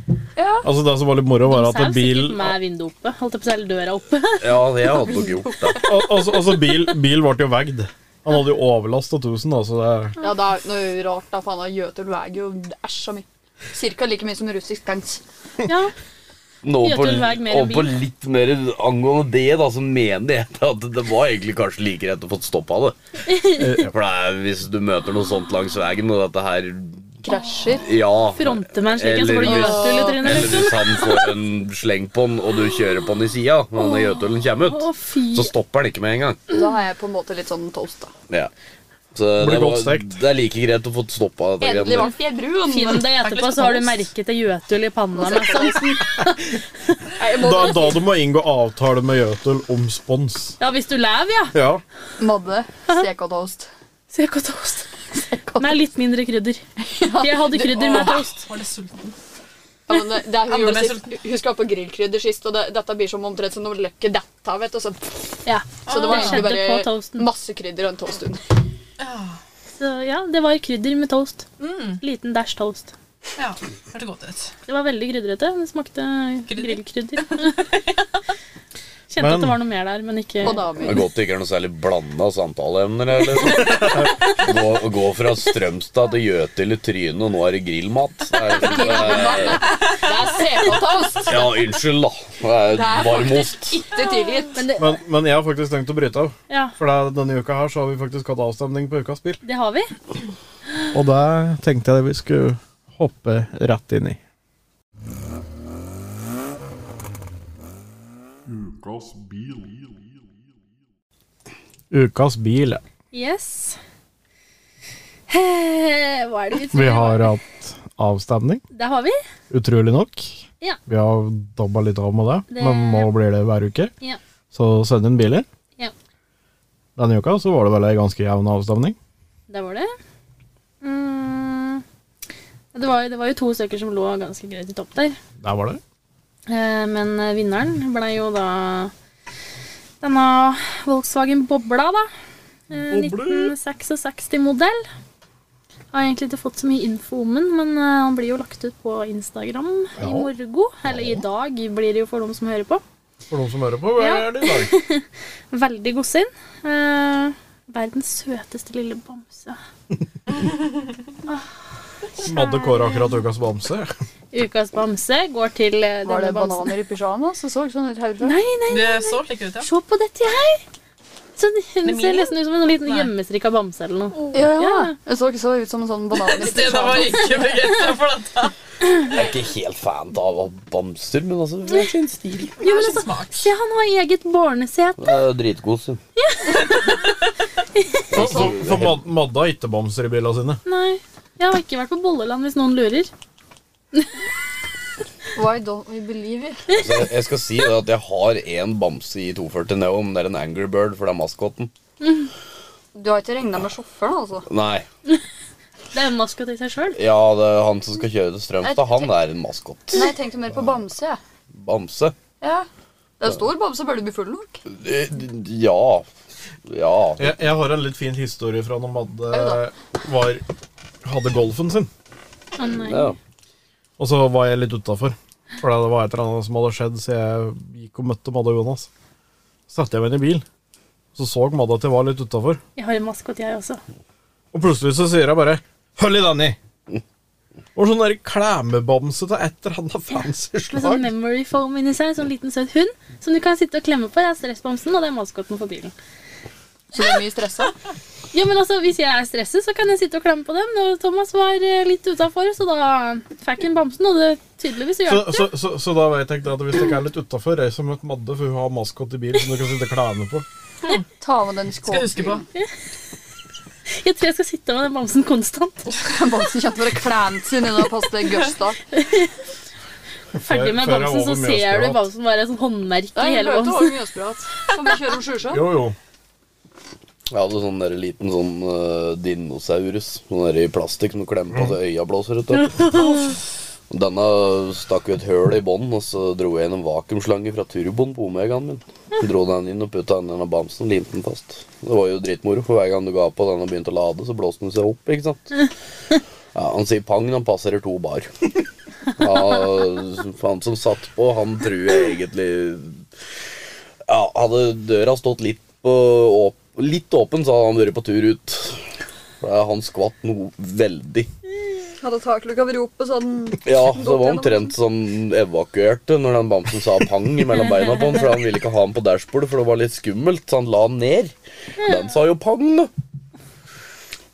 S3: Altså Det som var litt moro, var
S4: Så
S3: at
S4: er jo
S3: bil
S4: sikkert med vinduet oppe. Holdt jeg på å si, eller døra oppe. [LAUGHS]
S1: Ja, det hadde nok gjort det.
S3: al- Altså, altså bil, bil ble jo vegd. Han hadde jo overlast av 1000, da, så det
S6: [LAUGHS] Ja, det er jo noe rart, da. Faen, da, Jøtul veier jo æsj så mye. Cirka like mye som russisk tanks.
S4: Ja.
S1: Nå på,
S4: Gjøtul veg mer enn
S1: og på litt mer angående det, da, så mener jeg [LAUGHS] at det var egentlig kanskje
S4: [LAUGHS]
S1: like greit å få stoppa det. For det er, hvis du møter noe sånt langs veien, og dette her
S6: krasjer.
S1: Ja.
S4: Fronter man slik en, så får du
S1: Eller hvis-
S4: gjøtul i trynet,
S1: Eller
S4: liksom.
S1: hvis han får en sleng på den, og du kjører på den i sida når den gjøtulen kommer
S4: Å,
S1: ut,
S4: fy.
S1: så stopper den ikke med en gang.
S6: Da har jeg på en måte litt sånn toast, da.
S1: Ja. Så
S3: Blir
S1: det, var-
S3: godt stekt.
S1: det er like greit å få stoppa dette. greiene
S6: Endelig
S1: der.
S6: ble jeg brun.
S4: Finn deg
S5: Takk,
S4: etterpå,
S5: liksom,
S4: så har du
S5: Hans.
S4: merket et gjøtul i panna. Med sånn.
S6: Nei, jeg må
S3: Da,
S6: bare-
S3: da du må inngå avtale med Jøtul om spons.
S4: Ja, hvis du lever,
S6: [LAUGHS]
S4: ja.
S3: Ja.
S6: Madde, CK-toast.
S4: CK-toast. Med litt mindre krydder. Jeg hadde krydder med toast.
S5: Var det sulten?
S6: Ja, men det, det er, hun
S5: Andre
S6: gjorde
S5: med
S6: sist. Hun skulle ha på grillkrydder sist, og det, dette blir som omtrent som når løkket detter av. vet du, og Så,
S4: Ja,
S6: så det var
S4: det skjedde på
S6: egentlig bare
S4: toasten.
S6: masse krydder og en toast under.
S5: Ja.
S4: Så ja, det var krydder med toast.
S6: Mm.
S4: Liten dash toast.
S5: ja. Hørte godt ut.
S4: Det var veldig krydrete. Det smakte
S5: Krydder?
S6: [LAUGHS]
S4: grillkrydder. Kjente
S3: Men-
S4: at det var noe mer der, men ikke
S6: Og
S1: Det er
S6: damer.
S1: godt det ikke er noe særlig blanda samtaleemner. her, liksom. Gå, gå fra Strømstad til Jøtul i trynet, og nå er det grillmat. Det er, det er,
S6: Det er CK-toast!
S1: ja, unnskyld, da. Det
S6: Det
S1: er
S6: er
S1: varmost.
S6: faktisk ikke tilgitt.
S4: Men det,
S3: Men, men jeg har faktisk tenkt å bryte av.
S4: ja,
S3: For det, er- denne uka her så har vi faktisk hatt avstemning på ukas bil.
S4: det har vi.
S3: Og det tenkte jeg vi skulle hoppe rett inn i.
S2: Ukas bil.
S3: Ukas bil. ja.
S4: Yes. [LAUGHS] Eh, Hva er det vi tror?
S3: Vi har hatt avstemning,
S4: Det har vi.
S3: utrolig nok.
S4: Ja.
S3: Vi har dabba litt av med det,
S4: Det-
S3: men nå blir det hver uke.
S4: Ja.
S3: Så send inn biler.
S4: Ja.
S3: Denne uka så var det vel ei ganske jevn avstemning.
S4: Det var det. Mm. Det, var, det var jo to stykker som lå ganske greit i topp der.
S3: Der var det.
S4: Eh, Men eh, vinneren ble jo da denne Volkswagen Bobla, da. Eh, 1966-modell. Har egentlig ikke fått så mye info om den, men eh, han blir jo lagt ut på Instagram i morgen. Eller i dag blir det jo for dem som hører på.
S3: For noen som hører på, hva
S4: Ja.
S3: er det i dag?
S4: Veldig godsinn. Eh, verdens søteste lille bamse.
S3: Madde kåra akkurat ukas bamse.
S4: Ukas bamse går til eh,
S6: Var
S4: denne bamsen.
S6: det bananer i pysjamas? Det så sånn ut her ute.
S4: Nei, nei,
S5: Det så slik ut, ja.
S4: se på dette her! Så Hun
S5: Emilie?
S4: ser nesten ut som en liten
S5: Nei.
S4: hjemmestrikka bamse eller noe.
S6: [LAUGHS] Ja, ja.
S4: Ja.
S6: Det så ikke så ut som en sånn banan i
S5: Stina var
S6: pysjamas.
S5: ikke begeistra for dette.
S1: Jeg er ikke helt fan av bamser, men altså, det er sin stil.
S5: Det er så smart.
S4: Se, han har eget barnesete.
S1: Det er Dritkos. jo.
S3: For, for, for Mad- Madde har ikke bamser i bilene sine.
S4: Nei, jeg har ikke vært på Bolleland hvis noen lurer.
S6: Why don't we believe it?
S1: Altså, jeg- jeg skal si det at jeg har én bamse i 240 Neo, men det er en Angry Bird, for det er maskoten.
S6: Du har ikke regna med sjåføren, altså?
S1: Nei.
S4: Det er en maskot i seg sjøl.
S1: Ja, det er han som skal kjøre til Strømstad, han er en maskot.
S6: Nei, jeg tenkte mer på bamse. jeg.
S1: Bamse.
S6: Ja. Det er stor bamse, bør du bli full nok?
S1: Eh, Ja. Ja.
S3: Jeg, jeg har en litt fin historie fra når
S6: Ja,
S3: Madde var, hadde golfen sin.
S4: eh,
S1: ja.
S3: Og så var jeg litt utafor. For det var et eller annet som hadde skjedd, så jeg gikk og møtte Madde og Jonas. Så satte jeg meg inn i bil, så så Madde at jeg var litt utafor.
S4: Jeg har en maskot, jeg også.
S3: Og plutselig så sier jeg bare 'Hold i Danny'. Og sånn der klemmebamse til et eller annet fancy
S4: Med sånn
S3: slag.
S4: memory foam inni seg. Sånn liten søt hund som du kan sitte og klemme på. Det er stressbamsen, og det er maskoten for bilen.
S6: Så du er mye stressa?
S4: Ja, men altså, Hvis jeg er stresset, så kan jeg sitte og klemme på dem. Og Thomas var eh, litt utafor, så da fikk han bamsen, og det tydeligvis så
S3: Så,
S4: hjalp det.
S3: så, så, så da vet jeg at hvis dere er litt utafor, reis og møt Madde, for hun har maskot i bil som du kan sitte og klemme på.
S6: Ta med den
S5: Skal jeg huske på.
S4: Jeg tror jeg skal sitte med den bamsen konstant.
S6: [LAUGHS] Bamsen kjente bare klænt sin inn og paste Gusta.
S4: Ferdig med
S3: før jeg er
S4: bamsen, så
S3: over
S4: ser du
S3: Mjøsbrua.
S4: bamsen bare et sånt håndmerke i hele bamsen.
S6: bamsen.
S3: Jo, jo.
S1: Jeg hadde sånn der liten sånn eh, dinosaurus Sånn der i plastikk som du klemmer på så øya blåser ut av. Og Denne stakk jo et høl i bånden, og så dro jeg inn en vakuumslange fra turboen på Omegaen min. Så Dro den inn og putta den i denne bamsen, limte den fast. Det var jo dritmoro, for hver gang du ga på den og begynte å lade, så blåste den seg opp, ikke sant. Ja, han sier pang når han passerer to bar. Ja, han som satt på, han tror jeg egentlig ja, hadde døra stått litt, på, åp litt åpen, så hadde han vært på tur ut. For da Han skvatt noe veldig.
S6: Hadde takluka ved ropet sånn
S1: [LAUGHS] Ja, så det var omtrent som evakuerte når den bamsen sa pang mellom beina på han, for han ville ikke ha han på dashbordet, for det var litt skummelt, så han la han ned. Den sa jo pang, da.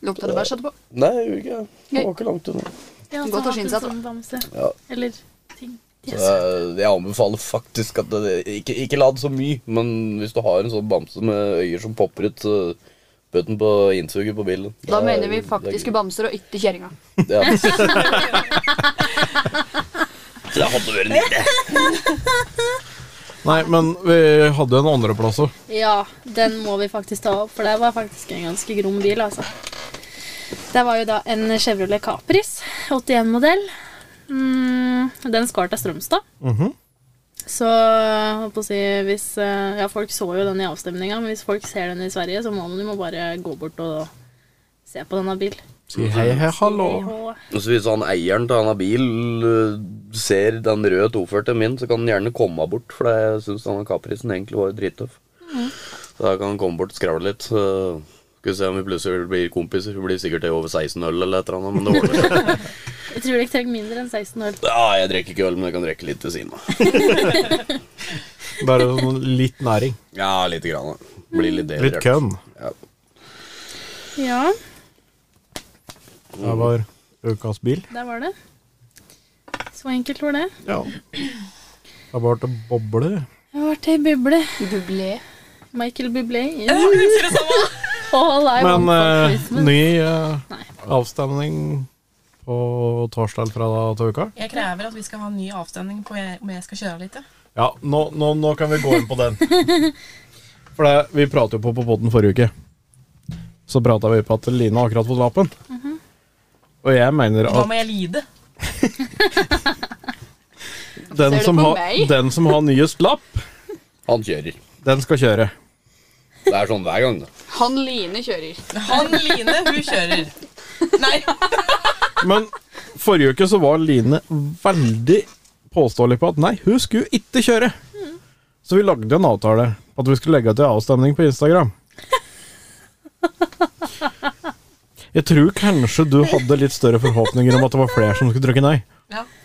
S6: Lukta det bæsj etterpå?
S1: Nei, jeg gjorde ikke det. Det var ikke langt unna.
S4: Ja,
S6: Godt å
S4: hatt en
S6: skynde seg, da.
S4: sånn bamse.
S1: Ja.
S4: Eller ting.
S1: Så eh,
S4: Yes.
S1: jeg- jeg anbefaler faktisk at det, ikke, ikke la det så mye, men hvis du har en sånn bamse med øyer som popper ut, så bøt den på innsuget på bilen. Det
S6: Da
S1: er-
S6: mener vi faktiske
S1: det
S6: bamser og ikke kjerringa.
S1: er- Ja. Det hadde vært nyttig.
S3: Nei, men vi hadde jo en andreplass òg.
S4: Ja, den må vi faktisk ta opp, for det var faktisk en ganske grom bil, altså. Det var jo da en Chevrolet Capris, 81-modell. Mm, den skar til Strømstad. Så holdt på å si, hvis eh, Ja, folk så jo den i avstemninga, men hvis folk ser den i Sverige, så må man jo bare gå bort og se på denne bil.
S3: Si hei, hei, hallo.
S4: Og-
S1: Og Så hvis han eieren til denne bil øh, ser den røde 240 min, så kan han gjerne komme bort, for jeg syns denne Caprisen egentlig var drittøff. Så da kan han komme bort og skravle litt. så Skal vi se om vi plutselig blir kompiser. Vi blir sikkert over 16 øl eller et eller annet, men det ordner seg. [LAUGHS]
S4: Jeg tror de trenger mindre enn 16 øl.
S1: Ja, jeg drikker ikke øl, men jeg kan drikke litt ved siden av.
S3: Bare sånn litt næring.
S1: Ja, lite grann. da. Blir
S3: Litt
S1: litt delrørt.
S3: kønn.
S1: Ja.
S4: Ja,
S3: Det var ukas bil.
S4: der var det. Så enkelt var det.
S3: Ja. Det var til bobler.
S4: Jeg har vært ei buble.
S6: Bublé.
S4: Michael Bublé.
S5: Sier det samme.
S4: All I
S3: Men
S4: want for
S3: eh,
S4: Christmas.
S3: ny eh,
S4: Nei.
S3: avstemning på torsdag eller fredag til uka.
S5: Jeg krever at vi skal ha en ny avstemning på jeg- om jeg skal kjøre litt. ja.
S3: Ja, nå, nå, nå kan vi gå inn på
S6: [LAUGHS]
S3: den. For det, vi pratet jo på på podden forrige uke. Så prata vi på at Line har akkurat fått lappen.
S6: Mhm.
S3: Og jeg mener
S5: Da
S3: at
S5: må jeg lide.
S3: den
S6: du
S3: som,
S6: på
S3: har,
S6: meg?
S3: den som har nyest lapp,
S1: Han kjører.
S3: den skal kjøre.
S1: Det er sånn hver gang. da.
S6: Han Line kjører.
S5: Han Line, hun kjører. Nei,
S3: Men forrige uke så var Line veldig påståelig på at nei, hun skulle ikke kjøre. Så vi lagde en avtale at vi skulle legge til avstemning på Instagram. Jeg tror kanskje du hadde litt større forhåpninger om at det var flere som skulle trykke nei.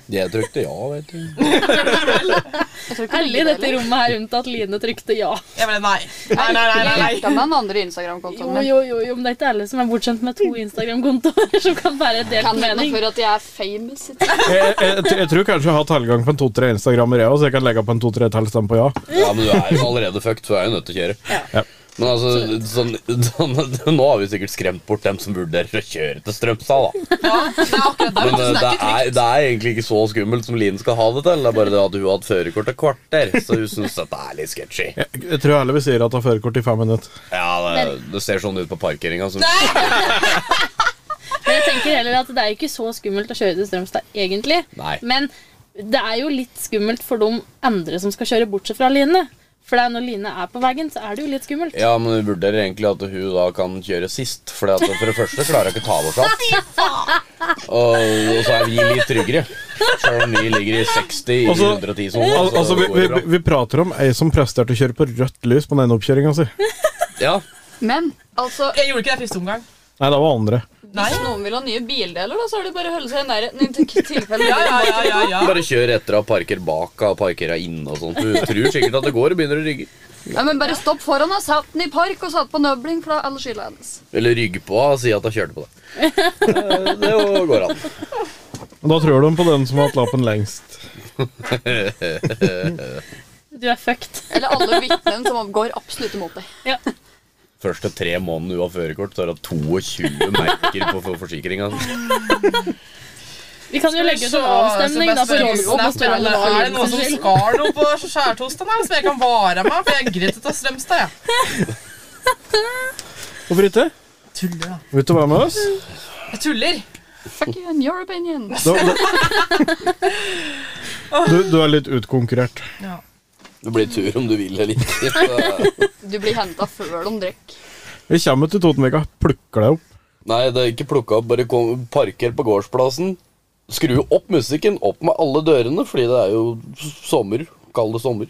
S1: Jeg trykte ja, vet du.
S6: Jeg tror ikke
S4: Alle i
S6: Line
S4: dette rommet her unntatt Line trykte ja.
S5: jeg ble nei. Nei, nei, nei, nei, nei.
S6: Hjelta meg den andre
S4: Jo,
S6: Instagram-kontoen min.
S4: jo, jo, jo, men det er ikke alle som er bortskjemt med to Instagram-kontoer [LAUGHS] som kan være delt
S6: Kan hende
S4: mening.
S6: for at jeg er famous.
S3: Jeg, jeg, jeg tror kanskje jeg har tilgang på en to-tre Instagrammer, jeg òg, så jeg kan legge på en to-tre til stemme på ja.
S1: Ja, men du er jo allerede fucked, så du er jo nødt til å kjøre.
S3: Ja.
S1: Men altså, sånn, sånn, [LAUGHS] nå har vi sikkert skremt bort dem som vurderer å kjøre til Strømstad, da.
S5: Ja, det er akkurat der.
S1: Men
S5: vet du,
S1: eh,
S5: så
S1: det
S5: Det er ikke
S1: er,
S5: trygt.
S1: det er egentlig ikke så skummelt som Line skal ha det til. Det er bare det at hun har hatt førerkort et kvarter, så hun syns dette er litt sketchy.
S3: Jeg, jeg tror heller vi sier at jeg har førerkort i fem minutter.
S1: Ja, det, det ser sånn ut på parkeringa. Så
S4: Men jeg tenker heller at det er jo ikke så skummelt å kjøre til Strømstad, egentlig.
S1: Nei.
S4: Men det er jo litt skummelt for de andre som skal kjøre bortsett fra Line. For det er når Line er på veien, så er det jo litt skummelt.
S1: Ja, men hun vurderer egentlig at hun da kan kjøre sist. For at for det første klarer hun ikke ta bort alt. Og, og så er vi litt tryggere. Selv om vi ligger i 60 i
S3: Altså,
S1: 110 sonen.
S3: Al altså, vi, vi, vi- vi prater om ei som presterte å kjøre på rødt lys på den altså. ene oppkjøringa si.
S1: Ja,
S6: Men altså,
S5: Jeg gjorde ikke det i første omgang.
S3: Nei, det var andre.
S5: Nei.
S6: hvis noen vil ha nye bildeler, da, så er det bare å holde seg i nærheten. i til- tilfelle.
S5: Ja, ja, ja, ja, ja.
S1: bare kjør etter og parker bak og parker deg inne og sånt. Hun tror sikkert at det går og begynner å rygge.
S6: Ja, men bare stopp foran og satt den i park og satt på nøbling, for da er alle skylda hennes.
S1: Eller rygge på og si at hun kjørte på deg. Eh, Det jo går an.
S3: Men da tror de på den som har hatt lappen lengst.
S4: Du er fucked. [LAUGHS]
S6: Eller alle vitnene som går absolutt imot deg.
S4: Ja.
S1: Første tre månedene hun har førerkort, så har hun 22 merker på for altså. forsikringa.
S4: Vi kan jo legge ut en avstemning da på Rådgård på
S5: Er
S4: Strømstad.
S5: det noen som
S4: Unnskyld.
S5: skar noe på skjærtosten her, som jeg kan vare meg? For jeg gidder ikke ta Strømstad, jeg.
S3: Hvorfor ikke?
S5: Tuller, da.
S3: Vil du være med oss?
S5: Jeg tuller.
S6: Fuck you and your opinion.
S3: Da, da. Du, du er litt utkonkurrert.
S5: Ja.
S1: Det blir tur om du vil eller ikke. så-
S6: Du blir henta før de drikker.
S3: Vi kommer til Totenvika, plukker deg opp.
S1: Nei, det er ikke plukka opp. Bare kom, parker på gårdsplassen. Skru opp musikken, opp med alle dørene, fordi det er jo s- sommer. Kall det sommer.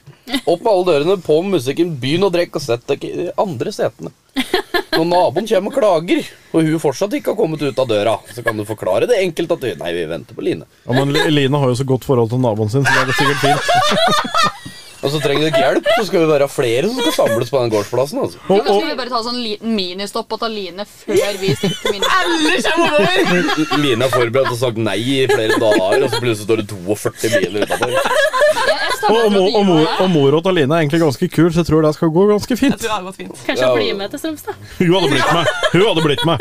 S1: Opp med alle dørene, på med musikken, begynn å drikke, og sett deg ikke i de andre setene. Når naboen kommer og klager, og hun fortsatt ikke har kommet ut av døra, så kan du forklare det enkelt at du, Nei, vi venter på Line.
S3: Ja, men Li- Line har jo så godt forhold til naboen sin, så det er sikkert fint.
S1: Og så trenger du ikke hjelp, så skal vi være flere som skal samles på den gårdsplassen. altså.
S6: Tenk om
S3: Og,
S6: skulle vi bare ta sånn liten ministopp og ta line før vi stikker til mini.
S5: Alle kommer over!
S1: Line er forberedt og sagt nei i flere dager, og så plutselig står det 42 biler utafor.
S6: Jeg, jeg
S3: og, og,
S6: stammer fra
S3: mo- og, mo-
S6: Dyrehavet.
S3: og moro til Line er egentlig ganske kul, så jeg tror det skal gå ganske
S5: Jeg
S3: fint.
S5: tror det hadde gått fint.
S4: Kanskje
S1: Ja.
S4: jeg blir med til Strømstad.
S3: Hun hadde blitt med. Hun hadde blitt med.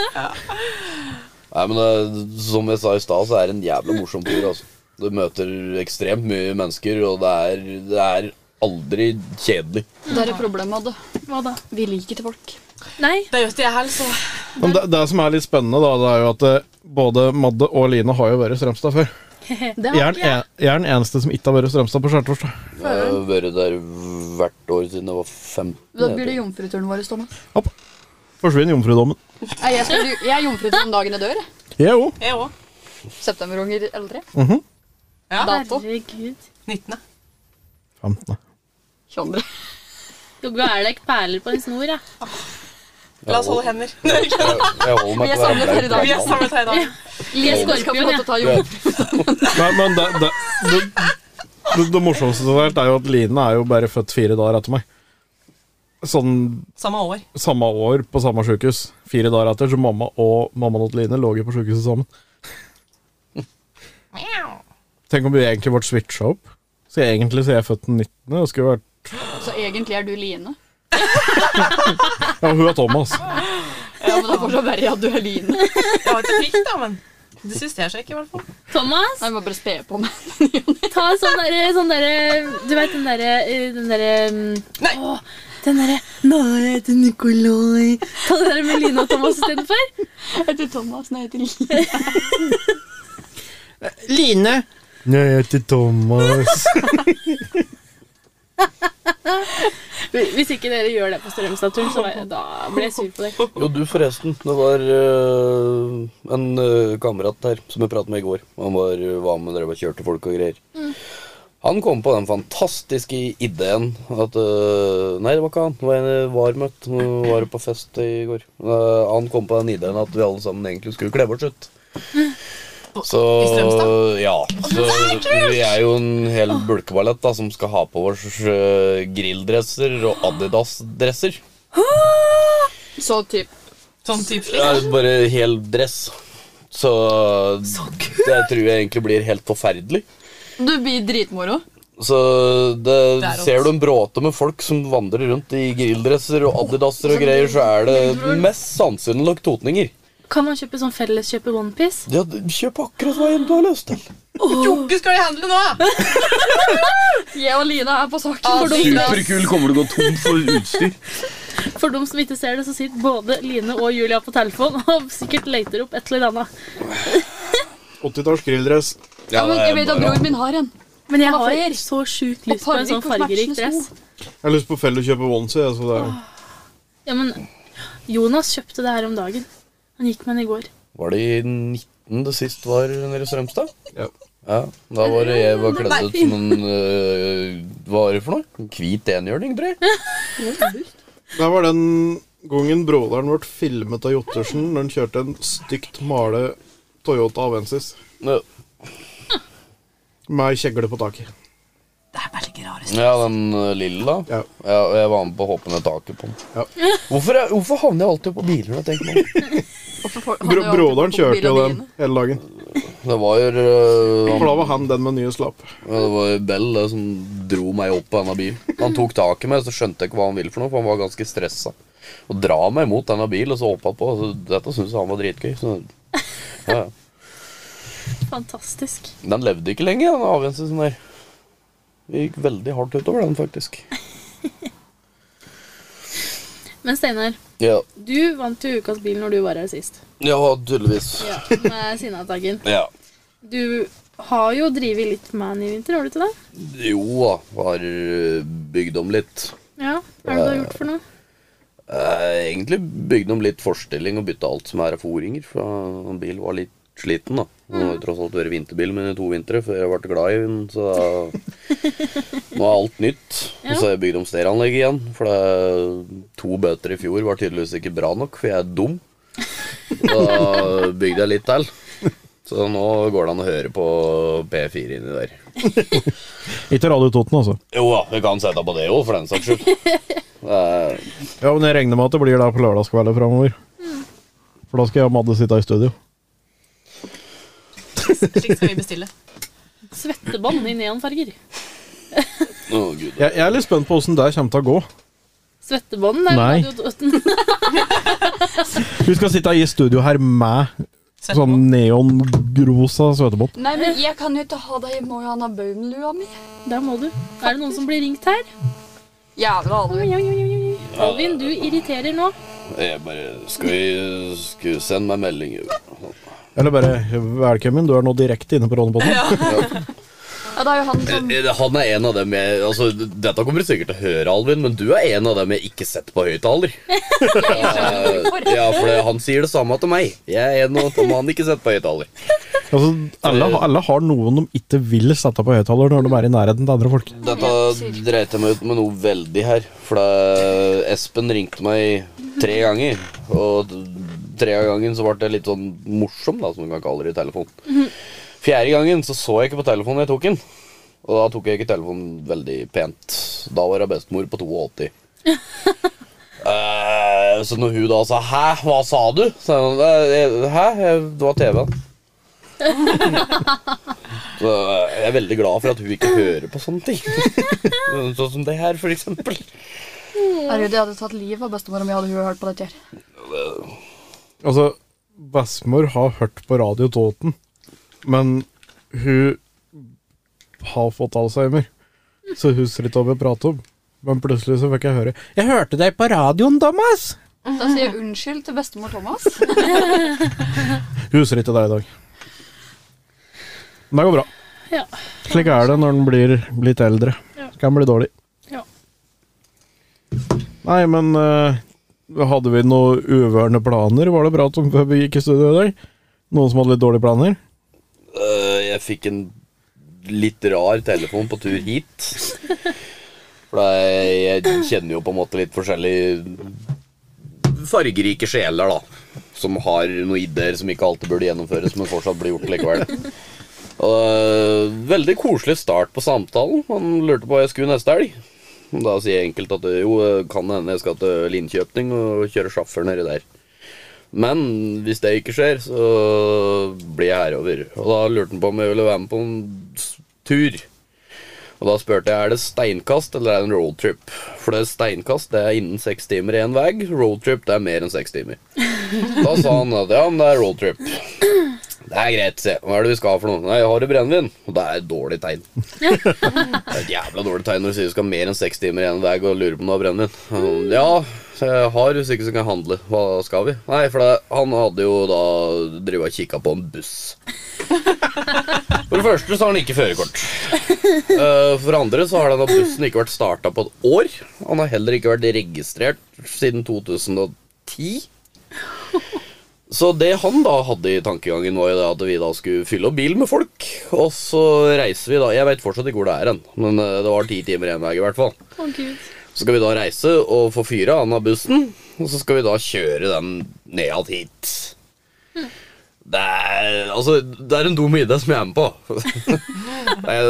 S1: Nei, men eh, som jeg sa i stad, så er det en jævla morsom tur. altså. Du møter ekstremt mye mennesker, og det er, det er aldri kjedelig.
S6: Det er et problem, Odd.
S4: Hva da?
S6: Vi liker til folk.
S4: Nei.
S5: Det er sånn just det jeg helst, så
S3: Men det, det som er litt spennende, da, det er jo at eh, både Madde og Line har jo vært i Strømstad før.
S6: Det
S3: Jeg
S6: har
S3: er, den en, jeg er den eneste som ikke har vært i Strømstad på skjærtorsdag.
S1: Jeg har vært der hvert år siden jeg var 15.
S6: Da blir det jomfruturen vår, Thomas.
S3: Hopp. Forsvinn jomfrudommen.
S6: Nei, Jeg, skal, jeg er jomfru til den dagen jeg dør. jeg.
S3: Jo.
S5: jeg òg.
S6: Septemberunger eldre.
S3: Mhm.
S5: Ja.
S6: Dato
S4: Herregud.
S5: 19.
S3: 15.
S6: 22.
S4: Du er ikke perler på en snor, ja.
S5: La oss holde hender. [LAUGHS]
S1: Jeg, jeg holder meg
S6: Vi er
S1: til å være
S6: samlet her i dag.
S5: Vi er
S1: blank.
S5: samlet her i dag.
S4: Jeg er
S6: Skal få
S4: skorpion,
S6: lov til
S4: jeg.
S6: å ta jomfru.
S3: Nei, men det, det, det, det, det morsomste som er, det er jo at Line er jo bare født fire dager etter meg. Sånn
S5: Samme år.
S3: samme år på samme sykehus. Fire dager etter, så mamma og mammaen til Line lå jo på sykehuset sammen. Tenk om vi egentlig ble switcha opp. Så jeg egentlig så er jeg født den 19. og skulle vært
S6: Så egentlig er du Line.
S3: Ja, hun er Thomas.
S6: Ja, men det er fortsatt verre at du er Line.
S5: Jeg var ikke fikk, da, men det systerer seg ikke, i hvert fall.
S4: Thomas,
S6: Jeg må bare spe på meg.
S4: ta en sånn derre sånn der, Du vet den derre Den derre
S5: Nei.
S4: Åh, den derre Nå jeg heter Nikolai. Ta det der med Line og Thomas istedenfor.
S6: Jeg heter Thomas, nei, jeg heter Line.
S3: Line. Nei, jeg heter
S1: [LAUGHS]
S3: Thomas.
S4: Hvis ikke dere gjør det på Strømstad-turen, så var jeg- da blir jeg sur på dere.
S1: [LAUGHS] Jo, du forresten. Det var øh, en øh, kamerat her som jeg pratet med i går. Han var, var med dere og kjørte folk og greier. Han kom på den fantastiske ideen at øh, Nei, det var ikke han. Det var en jeg var møtt. Nå var det på fest i går. Eh, han kom på den ideen at vi alle sammen egentlig skulle kle oss ut. Så
S5: I Strømstad?
S1: Ja. Så vi er jo en hel bulkeballett da som skal ha på oss øh, grilldresser og Adidas-dresser.
S6: Så typ
S5: Sånn type slik.
S1: Ja, bare hel dress. Så, det tror jeg egentlig blir helt forferdelig.
S6: Du blir dritmoro.
S1: Så det,
S5: Det er
S1: ser
S5: rått.
S1: du en bråte med folk som vandrer rundt i grilldresser og adidaser og greier, så er det mest sannsynlig nok totninger.
S4: Kan man kjøpe sånn felleskjøpe OnePiece?
S1: Ja, d- kjøp akkurat hva enn du har lyst til.
S5: Jokke skal de handle nå!
S6: Jeg og Line er på saken.
S5: Adidas.
S1: kommer du gå tom for utstyr.
S4: For dem som ikke ser det, så sitter både Line og Julia på telefon og sikkert leter opp et eller annet.
S3: 80-talls grilldress.
S6: Ja, men jeg vet at broren min har en.
S4: Men jeg
S6: Han har
S4: har
S6: flere.
S4: så sjukt
S6: Og
S4: lyst på en sånn
S6: fargerik og
S4: fargerik
S6: matchende
S4: dress.
S6: sko.
S3: Jeg har lyst på felleskjøpet onesie. jeg, Så det er.
S4: Ja, men Jonas kjøpte det her om dagen. Han gikk med den i går.
S1: Var det i 19 det sist var nede i Strømstad?
S3: Ja.
S1: Ja, Da var det jeg var kledd ut som en øh, Hva var det for noe? Hvit enhjørning, tror jeg.
S3: Det var den gangen broderen ble filmet av Jottersen når han kjørte en stygt male Toyota Avensis
S1: Ja.
S3: med ei kjegle på taket.
S5: Det er veldig rare
S1: Ja, den eh, lilla.
S3: Ja.
S1: Ja, og jeg var med på å hoppe ned taket på den.
S3: Ja.
S1: Hvorfor, er, hvorfor havner jeg alltid på biler? når jeg tenker meg
S3: [LAUGHS]
S1: om?
S6: Hvorfor får- han
S3: Bro
S6: har jo
S3: broderen
S6: alltid fått
S3: kjørte jo
S6: mobil og
S3: den
S6: bilen.
S3: hele dagen.
S1: Det var jo eh,
S3: For
S1: han,
S3: da var han den med nye slapp.
S1: ja, Det var jo Bell det, som dro meg opp på denne bilen. Han tok tak i meg, så skjønte jeg ikke hva han ville for noe, for han var ganske stressa. Og dra meg mot denne bilen, og så hoppa på. Så dette syntes han var dritgøy. Så, ja. ja.
S4: Fantastisk.
S1: Den levde ikke lenge, den avgrenselsen der. Det gikk veldig hardt utover den, faktisk.
S4: Men Steinar,
S1: Ja,
S4: du vant jo Ukas bil når du var her sist.
S1: ja tydeligvis.
S4: [LAUGHS] Ja, Med Sinnataggen.
S1: Ja.
S4: Du har jo drevet litt med den i vinter, har du ikke det?
S1: Jo da, har eh, bygd om litt.
S4: Ja. Hva er det du har gjort for noe?
S1: Eh, egentlig bygde om litt forstilling og bytta alt som er av foringer. For en bil var litt sliten, da. Den har jo tross alt vært vinterbil mine i to vintre før jeg ble glad i den. Så da, nå er alt nytt. Og så har jeg bygd om stereoanlegget igjen. For det, to bøter i fjor var tydeligvis ikke bra nok, for jeg er dum. Da bygde jeg litt til. Så nå går det an å høre på P4 inni der.
S3: Ikke Radio Toten, altså.
S1: Jo da, vi kan sette på det òg, for den saks skyld. [LAUGHS] Det er-
S3: Ja, men jeg regner med at det blir da på lørdagskvelder framover.
S6: Mm.
S3: For da skal jeg og Madde sitte i studio.
S5: Slik skal vi bestille.
S4: Svettebånd i neonfarger.
S1: Å, gud.
S3: Jeg, jeg er litt spent på åssen det kommer til å gå.
S4: Svettebånd er
S3: Nei.
S4: Radio Toten.
S3: Vi skal sitte i studio her med
S5: Sett på.
S3: sånn neongrosa svettebånd.
S6: Nei, men jeg kan jo ikke ha det. Jeg må jo ha den baumlua mi.
S4: [LAUGHS] Der må du. Er det noen som blir ringt her?
S6: Jævla
S4: Oi,
S6: alle.
S4: oi, oi, oi, oi. Alvin, du irriterer nå.
S1: Jeg bare Skal vi skal vi sende meg melding? jo.
S3: Eller bare 'velkommen, du er nå direkte inne på Rånebåten'.
S6: Ja, det er jo han som
S1: Eh, Han er en av dem jeg altså, Dette kommer du sikkert til å høre, Alvin, men du er en av dem jeg ikke setter på høyttaler.
S6: jeg for.
S1: Ja, for det, han sier det samme til meg. Jeg er en av dem han ikke setter på høyttaler.
S3: Altså, alle, alle har noen de ikke vil sette på høyttaler når de er i nærheten til andre folk.
S1: Dette dreit jeg meg ut med noe veldig her. For da Espen ringte meg tre ganger. Og tre av gangen så ble jeg litt sånn morsom, da, som man kan kalle det i telefon. Fjerde gangen så så jeg ikke på telefonen jeg tok den. Og da tok jeg ikke telefonen veldig pent. Da var jeg bestemor på 82. [LAUGHS] Eh, så når hun da sa 'hæ, hva sa du?' Så sa hun «Eh, 'hæ, det var TV-en'. Så eh, jeg er veldig glad for at hun ikke hører på sånne ting. sånn som det her, for eksempel.
S6: Herregud, jeg hadde tatt livet av bestemor om jeg hadde hørt på dette her.
S1: Eh,
S3: Altså, bestemor har hørt på Radio Tåten, men hun har fått alzheimer, så hun husker ikke hva vi prater om. Men plutselig så fikk jeg høre 'Jeg hørte deg på radioen, Thomas'!
S6: Da sier jeg unnskyld til bestemor Thomas.
S3: Hun husker ikke deg i dag. Men det går bra.
S4: Ja.
S3: Slik er det når en blir litt eldre.
S4: Ja.
S3: Kan bli dårlig.
S4: Ja.
S3: Nei, men eh, hadde vi noen uvørende planer? Var det bra om før vi gikk i studio i dag? Noen som hadde litt dårlige planer?
S1: Øh, jeg fikk en litt rar telefon på tur hit. For da jeg jeg kjenner jo på en måte litt forskjellige fargerike sjeler, da. Som har noen ideer som ikke alltid burde gjennomføres, men fortsatt blir gjort likevel. Og, øh, veldig koselig start på samtalen. Han lurte på hva jeg skulle neste elg. Og Da sier jeg enkelt at øh, jo, øh, kan det hende jeg skal til Linkjøping og kjøre sjåfør nedi der. Men hvis det ikke skjer, så blir jeg herover. Og da lurte han på om jeg ville være med på en s- tur. Og da spurte jeg er det steinkast eller er det en roadtrip. For det er steinkast det er innen seks timer én vei. Roadtrip det er mer enn seks timer. Da sa han at ja, men det er roadtrip. Det er greit, se. Hva er det vi skal ha for noe? Nei, jeg har i brennevin. Og det er et dårlig tegn. Det er et jævla dårlig tegn når du sier du skal ha mer enn seks timer igjen vei og lurer på om du har brennevin. Ja, jeg har hvis ikke så kan jeg handle. Hva skal vi? Nei, for det, han hadde jo da drevet og kikka på en buss. For det første så har han ikke førerkort. Eh, For det andre så har denne bussen ikke vært starta på et år. Han har heller ikke vært registrert siden 2010. Så det han da hadde i tankegangen, var jo det at vi da skulle fylle opp bilen med folk. Og så reiser vi da Jeg veit fortsatt ikke hvor det er hen, men eh, det var ti timer igjen vei i hvert fall.
S4: Å, Gud.
S1: Så skal vi da reise og få fyra han av bussen, og så skal vi da kjøre den ned hit. Det er, altså, det er en dum idé som jeg er med på. [LAUGHS] Det er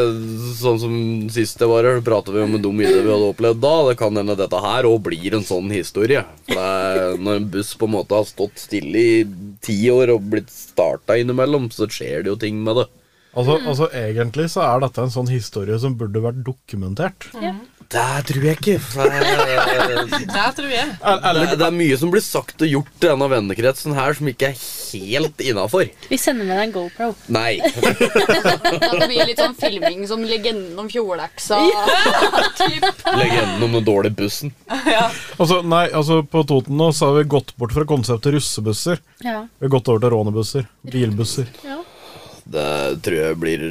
S1: sånn som sist jeg var her, så pratet vi om en dum idé vi hadde opplevd da. Det kan hende dette her òg blir en sånn historie. For det er, når en buss på en måte har stått stille i ti år og blitt starta innimellom, så skjer det jo ting med det.
S3: Altså, altså, Egentlig så er dette en sånn historie som burde vært dokumentert.
S1: Det tror jeg ikke. For det er,
S5: Der tror jeg.
S1: Det, er- det er mye som blir sagt og gjort i denne vennekretsen her som ikke er helt innafor.
S4: Vi sender med deg en GoPro.
S1: Nei.
S6: At [LAUGHS] det blir litt sånn filming som legenden om fjordeksa.
S1: Legenden om den dårlige bussen.
S3: Altså, nei, altså, På Toten nå så har vi gått bort fra konseptet russebusser.
S4: Ja.
S3: Vi har gått over til rånebusser. Bilbusser.
S4: ja.
S1: Det tror jeg blir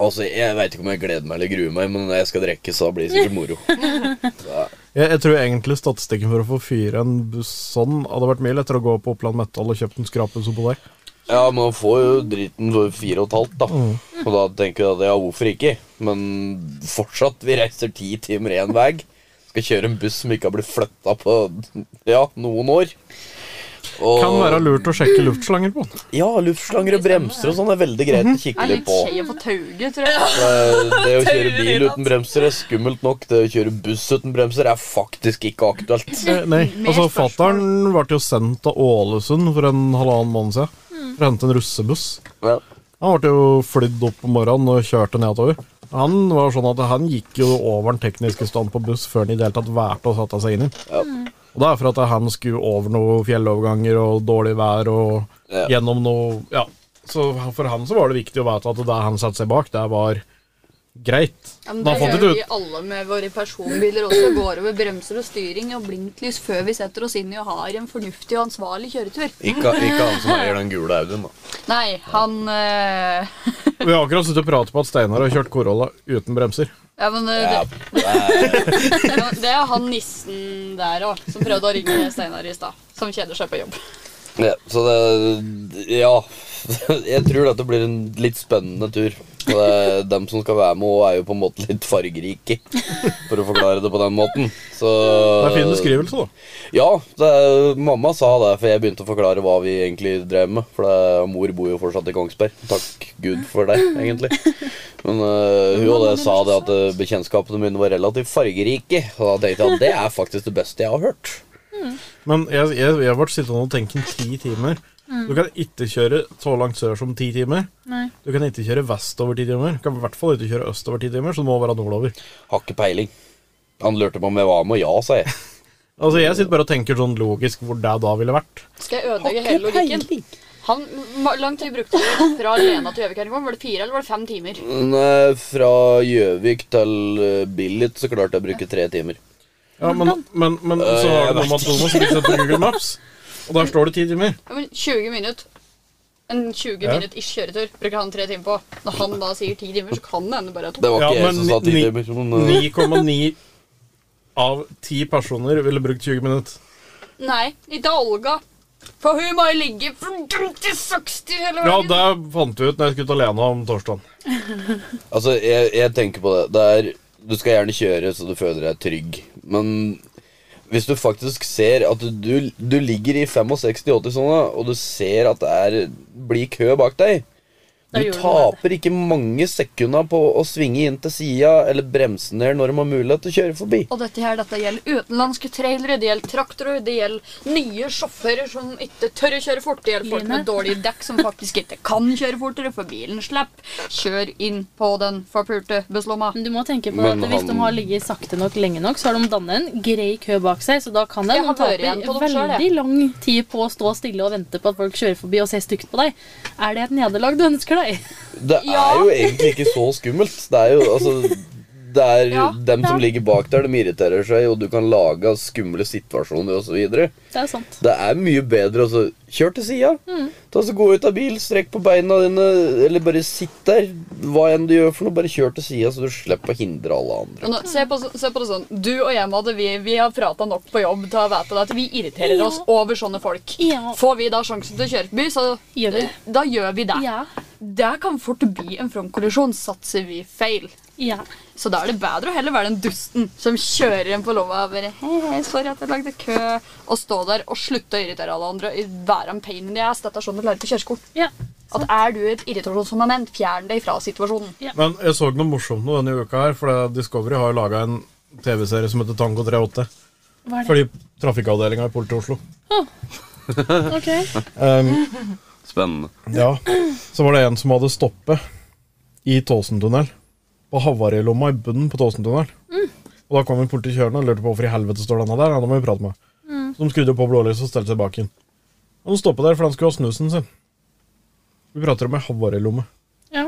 S1: Altså, Jeg veit ikke om jeg gleder meg eller gruer meg, men når jeg skal drikke, så blir det sikkert moro.
S3: Jeg, jeg tror egentlig statistikken for å få fyre en buss sånn hadde vært mye lettere å gå på Oppland Metall og kjøpt en skrapbuss oppå der.
S1: Ja, man får jo driten for fire og et halvt, da.
S3: Mm.
S1: Og da tenker jeg at ja, hvorfor ikke? Men fortsatt, vi reiser ti timer én vei. Skal kjøre en buss som ikke har blitt flytta på ja, noen år. Og,
S3: Kan være lurt å sjekke luftslanger på.
S1: Ja, luftslanger og bremser og sånn er veldig greit å kikke
S6: Er
S1: litt
S6: litt
S1: på.
S5: Mhm.
S6: skeie på tauget, tror jeg.
S1: Eh, Det å kjøre
S5: Tauer i
S1: bil
S5: natt.
S1: uten bremser er skummelt nok. Det å kjøre buss uten bremser er faktisk ikke aktuelt.
S3: Eh, Nei,
S6: Mer
S3: altså
S6: spørsmål.
S3: Fattern ble jo sendt av Ålesund for en halvannen måned siden for å hente en russebuss.
S1: Ja.
S3: Han ble jo flydd opp om morgenen og kjørte nedover. Han var sånn at han gikk jo over den tekniske stand på buss før han i det hele tatt valgte å sette seg inn i den.
S1: Ja.
S3: Og det er for at han skulle over noen fjelloverganger og dårlig vær og
S1: Ja.
S3: gjennom noe Ja. Så for han så var det viktig å vite at det han satte seg bak, det var greit.
S6: Ja, men
S3: Da
S6: det
S3: fant
S6: gjør
S3: du ut.
S6: vi alle med våre personbiler også. Går over bremser og styring og blinklys før vi setter oss inn i og har en fornuftig og ansvarlig kjøretur.
S1: Ikke, ikke han som eier den gule Audien, da.
S6: Nei, han eh,
S3: Vi har akkurat sittet og pratet på at Steinar har kjørt Corolla uten bremser.
S6: Ja, men eh,
S1: Ja,
S6: det, ja, men [LAUGHS] det er han nissen der òg, som prøvde å ringe Steinar i stad. Som kjeder seg på jobb.
S1: Ja, så det Ja. [LAUGHS] Jeg tror dette blir en litt spennende tur. Og det er dem som skal være med, også er jo på en måte litt fargerike, for å forklare det på den måten. Så
S3: Det er fin beskrivelse, da.
S1: Ja, det, er- mamma sa det, for jeg begynte å forklare hva vi egentlig drev med. For det, mor bor jo fortsatt i Kongsberg. Takk Gud for det, egentlig. Men øh, hun og det sa det at øh, bekjentskapene mine var relativt fargerike. Og da tenkte jeg at det er faktisk det beste jeg har hørt.
S3: Men jeg, jeg, jeg ble sittende og tenke i ti timer. Du kan ikke kjøre så langt sør som ti timer.
S4: Nei.
S3: Du kan ikke kjøre vestover ti timer. Du kan i hvert fall ikke kjøre østover ti timer, så det må være nordover.
S1: Har ikke peiling. Han lurte på om jeg var med, og ja, sa jeg.
S3: Altså, Jeg sitter bare og tenker sånn logisk hvor det da ville vært.
S6: Skal jeg ødelegge hele logikken? Han, ma- lang tid brukte du fra Lena til Gjøvik? her i går? Var det fire eller var det fem timer?
S1: Nei, eh, fra Gjøvik til øh, Billit så klarte jeg å bruke tre timer.
S3: Ja, Men, men, men så
S1: Øh,
S3: har
S1: jeg
S3: du noe med at
S1: vet
S3: du må sitte på Google Maps, og der står det ti timer.
S6: Ja, men 20 minutter. En 20
S3: Ja.
S6: minutt ish kjøretur bruker han tre timer på. Når han da sier ti timer, så kan det hende bare er to.
S1: Det var
S3: Ja,
S1: ikke jeg
S3: men
S1: som sa ti
S3: ni-
S1: timer. Men, øh,
S3: 9,9 av 10 personer ville brukt 20 minutter.
S6: Nei, ikke Olga. For hun må jo ligge fra 50 til 60 hele
S3: Ja,
S6: veien.
S3: det fant vi ut når jeg skulle til Lena om torsdagen.
S1: Altså, jeg, jeg tenker på det. det er, du skal gjerne kjøre så du føler deg trygg, men hvis du faktisk ser at du, du ligger i 65-80 sånne, og du ser at det er, blir kø bak deg
S4: Da
S1: Du
S4: gjør du
S1: taper ikke mange sekunda på å svinge inn til sida eller bremse ned når de har mulighet til å kjøre forbi.
S6: Og dette her, dette gjelder utenlandske trailere, det gjelder traktorer, det gjelder nye sjåfører som ikke tør å kjøre fort, det gjelder folk med
S4: Line.
S6: dårlige dekk som faktisk ikke kan kjøre fortere, for bilen slipper. Kjør inn på den forpulte busslomma.
S4: Men du må tenke på at
S1: Men
S4: hvis
S1: han-
S4: de har ligget sakte nok lenge nok, så har de dannet en grei kø bak seg, så da kan det
S6: Jeg
S4: de
S6: har vært igjen på
S4: taper
S6: dem selv, jeg.
S4: veldig lang tid på å stå stille og vente på at folk kjører forbi og ser stygt på deg. Er det et nederlag du ønsker deg? [LAUGHS]
S1: Det
S6: Ja.
S1: er jo egentlig ikke så skummelt. Det er jo altså det er
S6: Ja,
S1: dem som ligger bak der, de irriterer seg, og du kan lage skumle situasjoner osv.
S4: Det er sant.
S1: Det er mye bedre å så- kjør til sida.
S5: Mm.
S1: Ta så Gå ut av bil, strekk på beina dine, eller bare sitt der. Hva enn du gjør for noe, bare kjør til sida, så du slipper å hindre alle andre.
S6: Men nå, se, på, så- se på det sånn. Du og jeg, Madde, vi, vi har prata nok på jobb til å vite at vi irriterer oss over sånne folk.
S4: Ja.
S6: Får vi da sjansen til å kjøre forbi, så
S4: Gjør vi.
S6: da gjør vi det.
S4: Ja.
S6: Det kan fort bli en frontkollisjon, satser vi feil.
S4: Ja.
S6: Så da er det bedre å heller være den dusten som kjører en på lomma og bare hei, hei, sorry at jeg lagde kø, og stå der og slutte å irritere alle andre. Være en pain in the ass. Dette er sånn du lærer på kjøreskolen.
S4: ja.
S6: At er du et irritasjonsmoment, fjern deg fra situasjonen.
S3: Men jeg så noe morsomt nå denne uka her, for det- Discovery har jo laga en TV-serie som heter Tango 38.
S4: Hva er det?
S3: Fordi trafikkavdelinga i politiet i Oslo.
S4: Ok.
S3: Ehm,
S1: Spennende.
S3: ja. Så var det en som hadde stoppet i Tåsentunnel. På havarilomma i bunnen på Tåsentunnel. Og da kom politiet kjørende og lurte på hvorfor i helvete står denne der. Ja, da må vi prate med. henne. Så de skrudde på blålyset og stelte seg bak inn. Og de stoppet der, for de skulle ha snusen sin. Vi prater om ei havarilomme.
S4: Ja.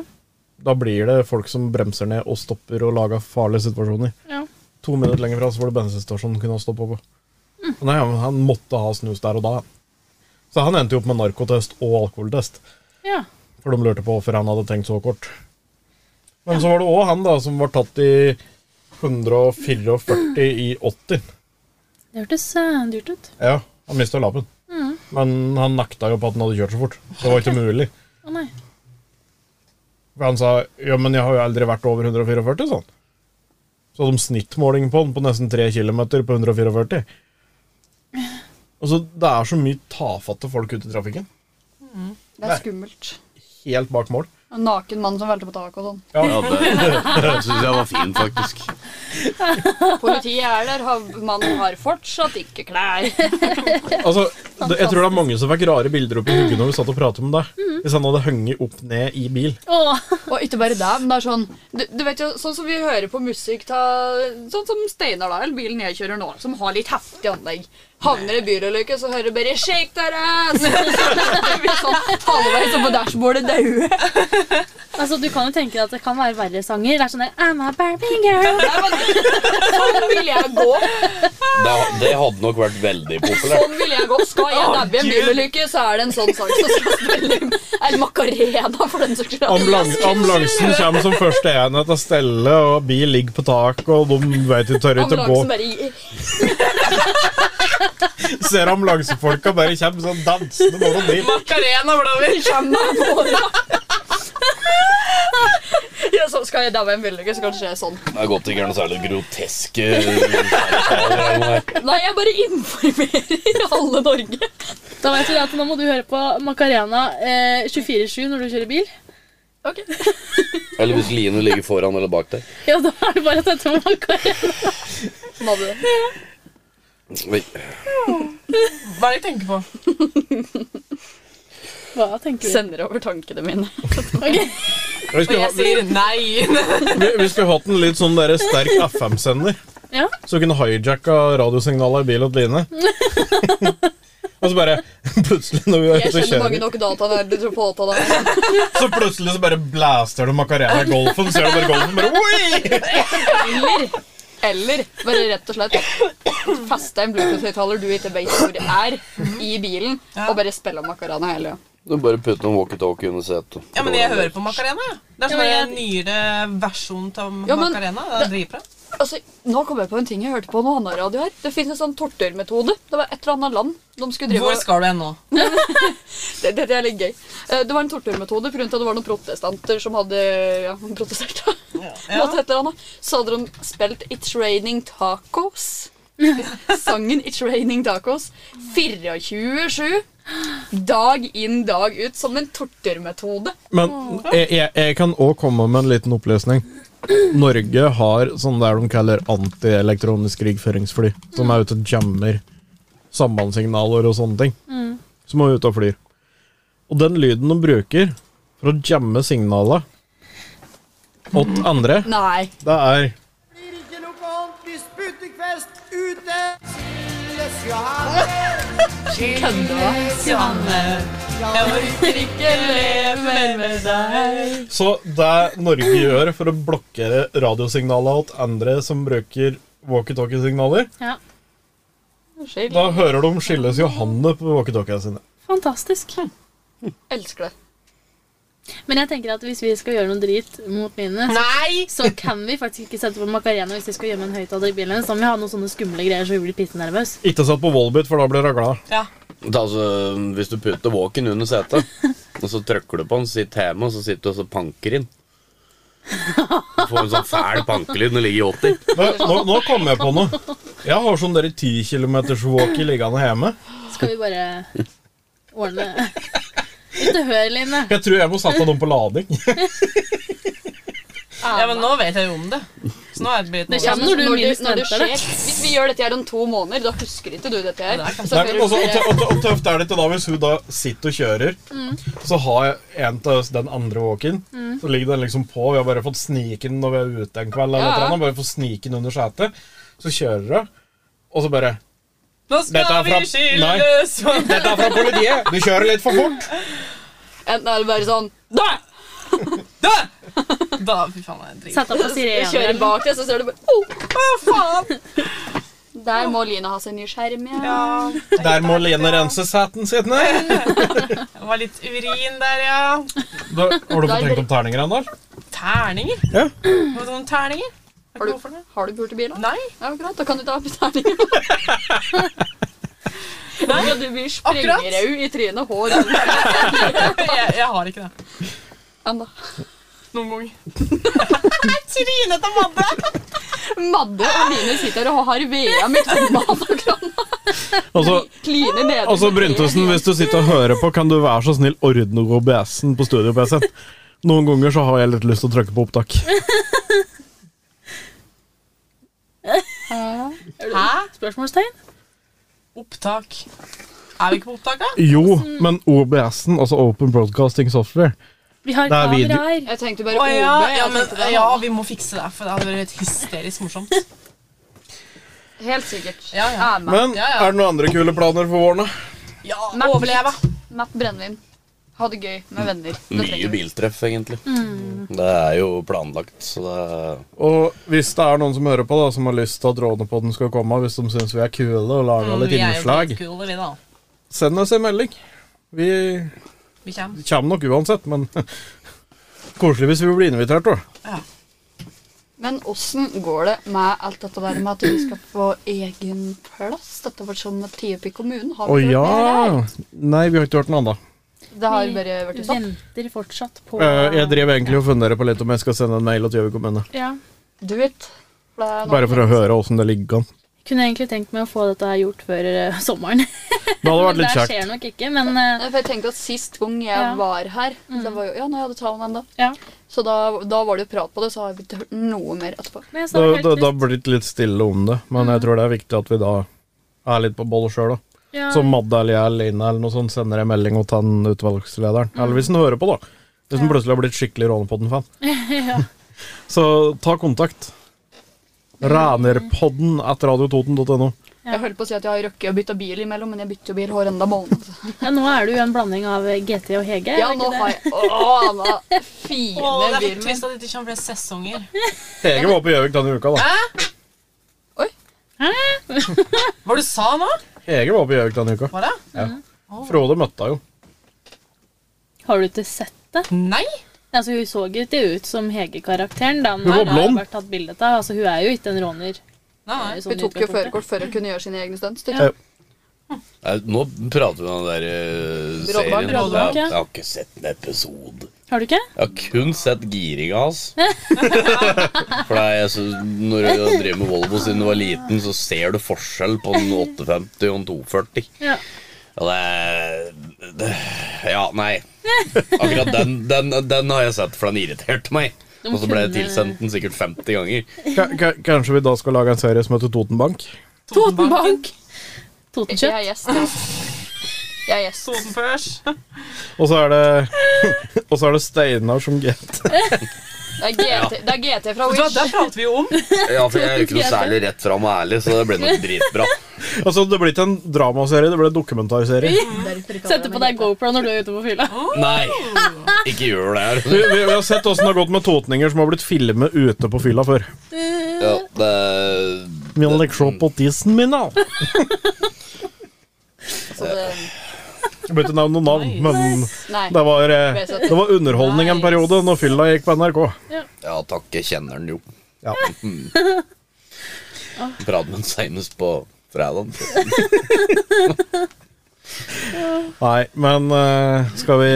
S3: Da blir det folk som bremser ned og stopper og lager farlige situasjoner.
S4: Ja.
S3: To minutter lenger fra så var det bensinstasjonen kunne ha stoppa på. Nei, men han måtte ha snus der og da. Så han endte jo opp med narkotest og alkoholtest.
S4: ja.
S3: For de lurte på hvorfor han hadde tenkt så kort. Men så var det òg han da som var tatt i 144 i 80.
S4: Det hørtes eh, dyrt ut.
S3: Ja, han mista lappen. Men han nekta jo på at han hadde kjørt så fort. Det var ikke mulig.
S4: Å nei.
S3: For han sa ja, men jeg har jo aldri vært over 144, sånn. Så hadde de snittmåling på den på nesten 3 km på 144. Altså, det er så mye tafatte folk ute i trafikken.
S6: Det er skummelt.
S3: Helt bak mål.
S6: En naken mann som velter på taket og sånn.
S1: Ja, det, det syns jeg var fin, faktisk.
S6: Politiet er der, har, mannen har fortsatt ikke klær.
S3: Altså, det, jeg tror det er mange som fikk rare bilder opp i hodet når vi satt og pratet om det. Hvis han hadde hengt opp ned i bil.
S4: Åh,
S6: Og ikke bare det, men det er sånn du, du vet jo, Sånn som vi hører på musikk ta, Sånn som Steinar, da, eller bilen jeg kjører nå, som har litt heftig anlegg. Havner i bilulykke, så hører du bare 'shake that ass'! [LAUGHS] Det blir sånn halvveis opp på dashbordet daue.
S4: [LAUGHS] altså Du kan jo tenke deg at det kan være verre sanger. Det er sånn der, I'm a Barbie
S6: [LAUGHS]
S4: girl.
S6: Nei, men Sånn vil jeg gå.
S1: Det, det hadde nok vært veldig populært.
S6: Sånn vil jeg gå. Skal jeg dabbe i en bilulykke, så er det en sånn sang som skal spille. [LAUGHS] Eller Macarena, for den saks skyld.
S3: Ambulan- ambulansen kommer som første enhet av stelle, og bil ligger på taket, og de vet de tør ikke å gå.
S6: Ambulansen bare gir-
S3: Ser ambulansefolka bare kommer sånn dansende mellom bil.
S5: Macarena blåmer.
S6: Skjemmer på deg. Ja, så skal jeg dabbe i en bilulykke, så kan det skje sånn.
S1: Det er godt det ikke er noe særlig groteske samtaler om det.
S6: Nei, jeg bare informerer alle Norge.
S4: Da vet du det at nå må du høre på Macarena eh, 24-7 når du kjører bil.
S6: Ok.
S1: Eller hvis Line ligger foran eller bak deg.
S4: [LAUGHS] Ja, da er det bare å sette på Macarena.
S6: Madde.
S1: Oi.
S5: Hva er det jeg tenker på?
S4: Hva tenker du?
S6: Sender over tankene mine.
S3: Vi
S5: Og
S3: skulle,
S5: jeg
S3: ha,
S5: sier nei.
S3: vi, [LAUGHS] vi skulle hatt en litt sånn der sterk FM-sender,
S4: Ja.
S3: så vi kunne hijacka radiosignalet i bilen til Line. [LAUGHS] Og så bare plutselig når vi er
S6: Jeg
S3: ute og
S6: kjenner mange
S3: kjører,
S6: nok datanerder til å påta det.
S3: så plutselig så bare blaster du Macarena i golfen, ser du bare golfen bare Oi!
S6: Eller, eller bare rett og slett feste en bluetooth-høyttaler du ikke vet hvor er, i bilen, og bare spille Macarena hele tida.
S1: Du bare putter en walkietalkie under setet.
S5: Ja, men jeg hører på Macarena. ja. Det er
S4: Ja,
S5: sånn
S4: men
S5: en nyere versjon av
S6: Ja, men-
S5: Macarena. Det er dritbra.
S6: Altså, nå kom jeg på en ting jeg hørte på noe annet radio her. Det finnes en sånn torturmetode. Det var et eller annet land de skulle drive
S5: Hvor
S6: og-
S5: skal du hen nå?
S6: Det, det, det er litt gøy. Eh, Det var en torturmetode pga. at det var noen protestanter som hadde ja, protestert. da.
S5: Ja.
S6: Måtte et eller annet. Så hadde de spilt It's Raining Tacos. Sangen It's Raining Tacos 24-7. Dag inn, dag ut. Som en torturmetode.
S3: Men jeg, jeg, jeg kan òg komme med en liten oppløsning. Norge har sånn der de kaller antielektronisk krigføringsfly, som er ute og jammer sambandssignaler og sånne ting. Som er ute og flyr. Og den lyden de bruker for å jamme signalene åt andre,
S6: Nei.
S3: det er
S7: blir ikke noe ordentlig sputtekfest ute. Silles Johanne,
S6: Kødda.
S5: Johanne, eh, jeg orker ikke leve mer med deg.
S3: Så det Norge gjør for å blokkere radiosignaler åt andre som bruker walkietalkie-signaler,
S4: ja.
S6: Unnskyld.
S3: da hører de skilles Johanne på walkietalkiene sine.
S4: Fantastisk.
S6: Elsker det.
S4: Men jeg tenker at hvis vi skal gjøre noe drit mot mine, så,
S5: Nei!
S4: så kan vi faktisk ikke sette på Macarena hvis vi skal gjemme en høyttaler i bilen. Så må vi ha noen sånne skumle greier så vi blir pissenervøse.
S3: Ikke satt på Volbit, for da blir hun glad.
S5: Ja.
S1: Ta, altså, hvis du putter walkien under setet, og så trykker du på den, sitter hjemme, og så sitter du og så panker inn. Du får en sånn fæl pankelyd når du ligger i 80.
S3: Nå, nå, nå kom jeg på noe. Jeg har sånn der 10 km walkie liggende hjemme.
S4: Skal vi bare ordne Ikke hør, Line.
S3: Jeg tror jeg må sette dem på lading.
S5: ja, men nå vet jeg jo om det. Så nå er det blitt
S4: Det
S5: noe.
S4: kommer- når du minst venter det.
S6: Hvis vi gjør dette her om to måneder, da husker ikke du dette her.
S5: Ja, det er kanskje-
S6: Så
S3: Nei, men
S6: hører
S3: også, og, tø-
S6: dere-
S3: og, tø- og tøft er det ikke da hvis hun da sitter og kjører, så har jeg en til oss den andre walkien. Så ligger den liksom på. Vi har bare fått snike den når vi er ute en kveld. Eller
S6: Ja.
S3: et eller annet, bare få snike den under setet. Så kjører hun, og så bare
S5: Nå
S3: Dette
S5: skal
S3: er
S5: vi
S3: fra-
S5: skilles! [LAUGHS]
S3: Dette er fra politiet! Du kjører litt for fort!
S6: Enten er det bare sånn Nei!
S5: Da! Da, fy faen, jeg driter.
S4: Sett deg på
S6: Jeg kjører
S4: sirenen.
S6: bak deg, så ser du bare oh!
S5: Å, faen!
S6: Der må Line ha seg ny skjerm igjen.
S5: Ja,
S3: Der må Lene rense seten sin. Nei.
S5: det var litt urin der, ja.
S3: Da, har du fått tenkt opp terninger ennå?
S5: Terninger?
S3: Ja.
S5: Hva er det om terninger? Er
S6: Har
S5: det
S6: du,
S5: noe for det?
S6: har du pult i bilen?
S5: Nei, [LAUGHS]
S6: Ja, akkurat. Da kan du ta betalingen. [LAUGHS] Nei, du blir sprengerau i trynet. Hår
S5: jeg, jeg har ikke det.
S6: enda.
S5: [LAUGHS] Noen gang. Trinete madde!
S6: Madde og Line sitter og har vea mitt på mat og grann.
S3: Altså,
S6: Kline nede.
S3: altså Bryntesen, hvis du sitter og hører på, kan du være så snill ordne OBS-en på studio-PC-en? Noen ganger så har jeg litt lyst til å trykke på opptak.
S5: Hæ?
S4: Spørsmålstegn?
S5: Opptak. Er vi ikke på opptak, da?
S3: Jo, men OBS-en, altså Open Broadcasting Software
S4: Vi har
S3: Det er video-
S4: kameraer.
S6: Jeg tenkte bare
S5: Å
S6: OB.
S5: ja, ja,
S6: jeg
S5: men,
S6: tenkte det
S5: ja,
S6: var-
S5: vi må fikse det, for det hadde vært hysterisk morsomt.
S6: Helt sikkert.
S5: Ja, ja.
S6: Er Matt,
S3: Men
S5: Ja, ja.
S3: er det noen andre kule planer for våren, da?
S5: Ja,
S6: Matt
S5: Overleve.
S6: Matt Brennevin. Ha det gøy med venner. Det
S1: Mye
S6: trenger vi.
S1: biltreff, egentlig. Det er jo planlagt, så det
S3: Og hvis det er noen som hører på, da som har lyst til at Rånepodden skal komme, hvis de syns vi er kule og lager litt
S5: Mm, Vi er jo
S3: innslag,
S5: dritkule, vi, da.
S3: send oss en melding. Vi
S5: Vi kommer.
S3: kommer nok uansett, men [LAUGHS] koselig hvis vi blir invitert, da.
S6: Men åssen går det med alt dette der med at vi skal få egen plass? Dette var som med Tiepi kommune. Har
S3: Å
S6: vi
S3: ja!
S6: hørt mer her?
S3: Nei, vi har ikke hørt noe annet.
S6: Det har
S4: Vi
S6: bare vært i stopp.
S4: venter fortsatt på
S3: Eh, Jeg driver egentlig og funderer på litt om jeg skal sende en mail til Gjøvik kommune.
S4: Ja.
S6: Do it. For det er
S3: Bare for å høre åssen det ligger an.
S4: Kunne egentlig tenkt meg å få dette her gjort før eh, sommeren.
S3: [LAUGHS] Det hadde vært
S4: [LAUGHS] Men
S3: litt
S4: det
S3: kjekt.
S4: skjer nok ikke, men eh,
S6: Nei, for jeg tenkte at Sist gang jeg
S4: Ja. Mm.
S6: var her Det var jo, ja, nå hadde talen enda.
S4: ja.
S6: Så da, da var det jo prat på det, så har vi ikke hørt noe mer etterpå.
S4: Nei, så
S3: Da,
S4: det Mm. er helt
S3: da, da
S4: trist.
S3: blir det litt stille om det, men jeg tror det er viktig at vi da er litt på boll sjøl, da.
S4: ja.
S3: Så Madde eller jeg eller Ine eller noe sånt sender en melding til han utvalgslederen. Eller hvis han hører på, da. Hvis han plutselig har blitt skikkelig Rånepodden-fan.
S4: [LAUGHS] ja.
S3: [LAUGHS] Så ta kontakt. Rænerpodden at radiototen.no.
S4: Ja.
S6: Jeg holdt på å si at jeg har røkket å bytte bil imellom, men jeg bytter jo bil hver enda måned.
S4: ja, nå er du jo en blanding av GT og Hege.
S6: Ja,
S4: er [LAUGHS] det
S6: nå
S4: ikke det?
S6: har jeg Å, nå
S5: Å, det
S6: fine
S5: er litt
S6: bilen min.
S5: trist at det ikke kommer flere sesonger.
S3: Hege var på Gjøvik denne uka, da.
S5: Hva du sa nå?
S3: Hege var på Gjøvik denne uka.
S5: Var det?
S3: Frode møtte henne jo.
S4: Har du ikke sett det?
S5: Nei?
S4: Altså, hun så ikke ut som Hege-karakteren. da. Den
S3: var
S4: her har
S3: blond.
S4: vært tatt bildet av. Altså, hun er jo ikke en råner.
S5: Nei,
S4: eh,
S5: nei.
S4: sånn
S6: Hun tok jo
S4: utgangspunktet.
S6: førerkort før hun kunne gjøre sine egne stunts.
S3: Ja.
S6: Ja.
S1: Nei, Nå prater vi om den der eh, serien.
S4: Rådbank, ja.
S1: jeg har ikke sett en episode.
S4: Har du ikke?
S1: Jeg har kun sett giringa hans. For det er, jeg synes, når jeg drev med Volvo siden jeg var liten, så ser du forskjell på en 850 og en 240.
S4: Ja.
S1: Ja, det, er- det Ja, nei. Akkurat den, den, den har jeg sett, for den irriterte meg. Og så ble jeg
S4: kunne-
S1: tilsendt den sikkert 50 ganger.
S3: Ka- ka- Kanskje vi da skal lage en serie som heter Totenbank?
S4: Totenbank!
S6: Jeg
S4: Totenkjøtt.
S6: er gjest. ja. Jeg er gjest.
S5: Soden [LAUGHS] først.
S3: Og så er det [LAUGHS] Og så er det Steinar som GT.
S6: Det er GT, det er GT fra
S5: Vet du hva,
S6: Wish.
S5: Det prater vi jo [LAUGHS] om.
S1: Ja, for jeg er jo ikke noe særlig rett fram og ærlig, så det ble nok dritbra.
S3: Altså, det blir ikke en dramaserie, det blir en dokumentarserie.
S4: Sette på deg GoPro når du er ute på fylla.
S1: Nei, ikke gjør det her.
S3: Vi, vi, vi har sett åssen det har gått med totninger som har blitt filmet ute på fylla før.
S1: Ja, det,
S3: Vil dere se på tissen min, da?
S6: Så det,
S3: Jeg bør ikke nevne noen navn, men
S6: nei.
S3: det var, eh, det var underholdning en periode når fylla gikk på NRK.
S1: ja takk, jeg kjenner den jo.
S3: Ja.
S1: Pratet med den senest på fredag.
S3: Nei, men eh, skal vi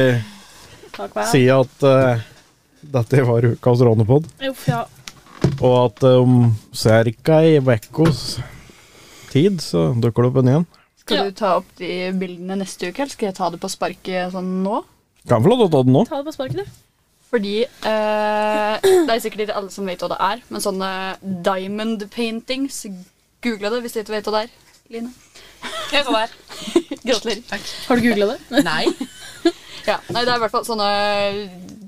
S4: Takk, hva?
S3: si at eh, dette var ukas Rånepod,
S4: Uff, ja.
S3: og at eh, om cirka ei ukas tid så dukker det opp en igjen.
S6: Skal du ta opp de bildene neste uke, eller skal jeg ta det på sparket sånn nå?
S3: Kan få lov til å ta den nå.
S4: Ta det på sparket, du.
S6: Fordi eh, Det er sikkert ikke alle som vet hva det er, men sånne diamond paintings Google det hvis du ikke vet hva det er. Line.
S5: Jeg tar der.
S6: Gratulerer.
S4: Har du googla
S6: [LAUGHS]
S4: det?
S5: Nei.
S6: Ja, nei, det er i hvert fall sånne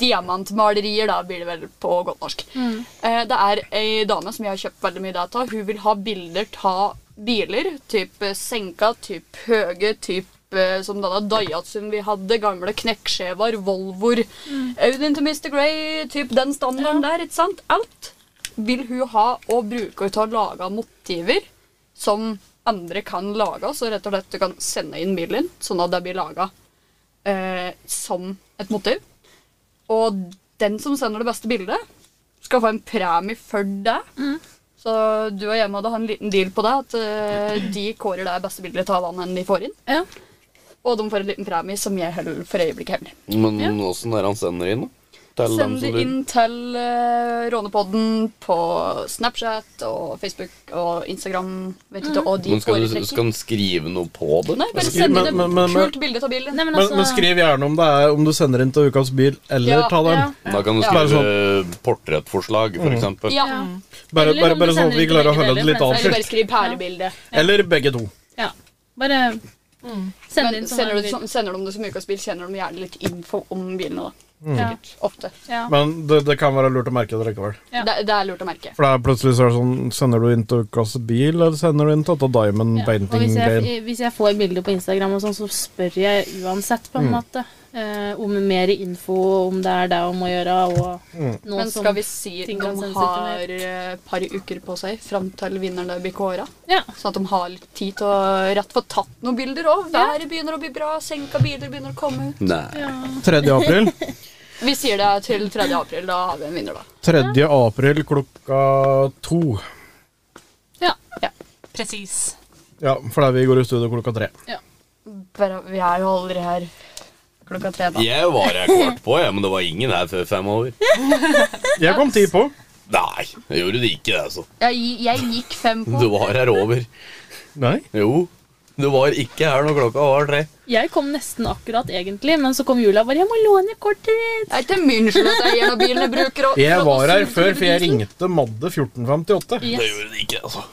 S6: diamantmalerier, da blir det vel på godt norsk. Eh, det er ei dame som jeg har kjøpt veldig mye data. Hun vil ha bilder ta biler. Type senka, type høye, type eh, som denne Daihatsuen vi hadde, gamle knekkskjever, Volvoer, Audien til Mr. Grey, typ den standarden der, ikke sant? Alt vil hun ha og bruke til å lage motiver som andre kan lage, så rett og slett du kan sende inn bilen, sånn at det blir laget eh, som et motiv. Og den som sender det beste bildet, skal få en premie for det.
S1: Mm.
S6: Så du og Hjemme hadde en liten deal på det, at eh, de kårer det beste bildet av vannet de får inn.
S4: Ja.
S6: Og de får en liten premie som jeg holder for øyeblikket hemmelig.
S1: Men åssen er det han sender inn, da? til dem
S6: Send
S1: som
S6: det
S1: lurer.
S6: inn til eh, Rånepodden på Snapchat og Facebook og Instagram. Vet ikke hva de
S1: Men skal, du,
S6: foretrekker.
S1: skal den skrive noe på det?
S6: Nei, bare
S3: Skriv-
S6: send
S3: men-
S6: inn
S3: men- men-
S6: et kult bilde av bilen.
S4: Nei, men
S3: Men,
S4: altså,
S3: men skriv gjerne om det er om du sender inn til Ukas bil, eller
S6: Ja,
S3: ta den.
S4: ja.
S1: Da kan du
S6: Ja. Mm.
S1: skrive portrettforslag, for eksempel.
S6: Ja.
S4: Ja.
S3: Bare,
S4: Eller
S3: bare,
S4: om du
S3: bare sånn
S4: sender
S3: at vi
S4: inn til
S3: klarer å
S4: begge
S3: holde det
S4: deler,
S3: litt
S4: for
S6: Eller bare
S3: atskilt.
S6: skriv pærebilde.
S3: Eller begge to.
S4: Ja. Bare send det
S6: Mm. Men
S4: inn som
S6: sender,
S4: en
S6: du,
S4: video.
S6: som- sender de det som ukas bil, sender de gjerne litt info om bilene. da.
S4: Ja.
S6: Ofte.
S4: Ja.
S3: Men det, det kan være lurt å merke det likevel.
S4: Ja.
S6: Det, det er lurt å merke.
S3: For det er plutselig så er det sånn Sender du inn til Ukas bil, eller sender du inn til Atta Diamond
S4: Ja. Og hvis [LAUGHS]
S3: Painting-greien?
S4: jeg, hvis jeg får bilder på Instagram, og sånn, så spør jeg uansett
S1: Mm.
S4: på en måte eh, om mer info, om det er det hun må gjøre. Og
S1: Mm.
S4: noe
S6: Men
S4: som-
S6: skal vi si
S4: ting
S6: de
S4: kan sensitivt
S6: har et par uker på seg fram til vinneren blir kåra?
S4: ja.
S6: Sånn at de har litt tid til å rett få tatt noen bilder òg. Været begynner å bli bra, senka biler begynner å komme.
S1: Nei.
S3: 3. april.
S6: Vi sier det til 3. april. Da har vi en vinner, da.
S3: 3. april klokka to.
S6: Ja. ja.
S5: Presis.
S3: Ja, for det er vi går i studio klokka tre.
S6: Bare, vi er jo aldri her klokka tre, da.
S1: Jeg var her kvart på, jeg, men det var ingen her før fem over.
S3: Jeg kom ti på.
S1: Nei, jeg gjorde det ikke, altså.
S6: Jeg, jeg gikk fem på.
S1: Du var her over.
S3: Nei.
S1: Jo. Du var ikke her når klokka var tre.
S4: Jeg kom nesten akkurat, egentlig, men så kom Julia og bare 'Jeg må låne kortet ditt'.
S6: Det er ikke min skyld at eieren av bilen jeg bruker og-
S3: Jeg var her før, for jeg ringte Madde 1458.
S1: Det
S4: Yes.
S1: gjorde det ikke, altså.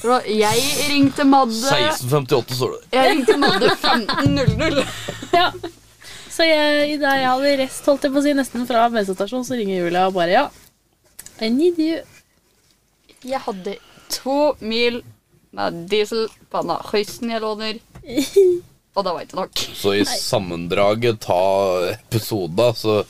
S6: For Jeg ringte Madde
S1: 1658 står det.
S6: Jeg ringte Madde 15.00.
S4: Ja. Så jeg, i det jeg hadde rest, holdt jeg på å si, nesten fra bensinstasjonen, så ringer Julia og bare 'Ja, I need you'.
S6: Jeg hadde to mil med diesel på denne høysten jeg låner. Og det var ikke nok.
S1: Så i sammendraget ta episoda, så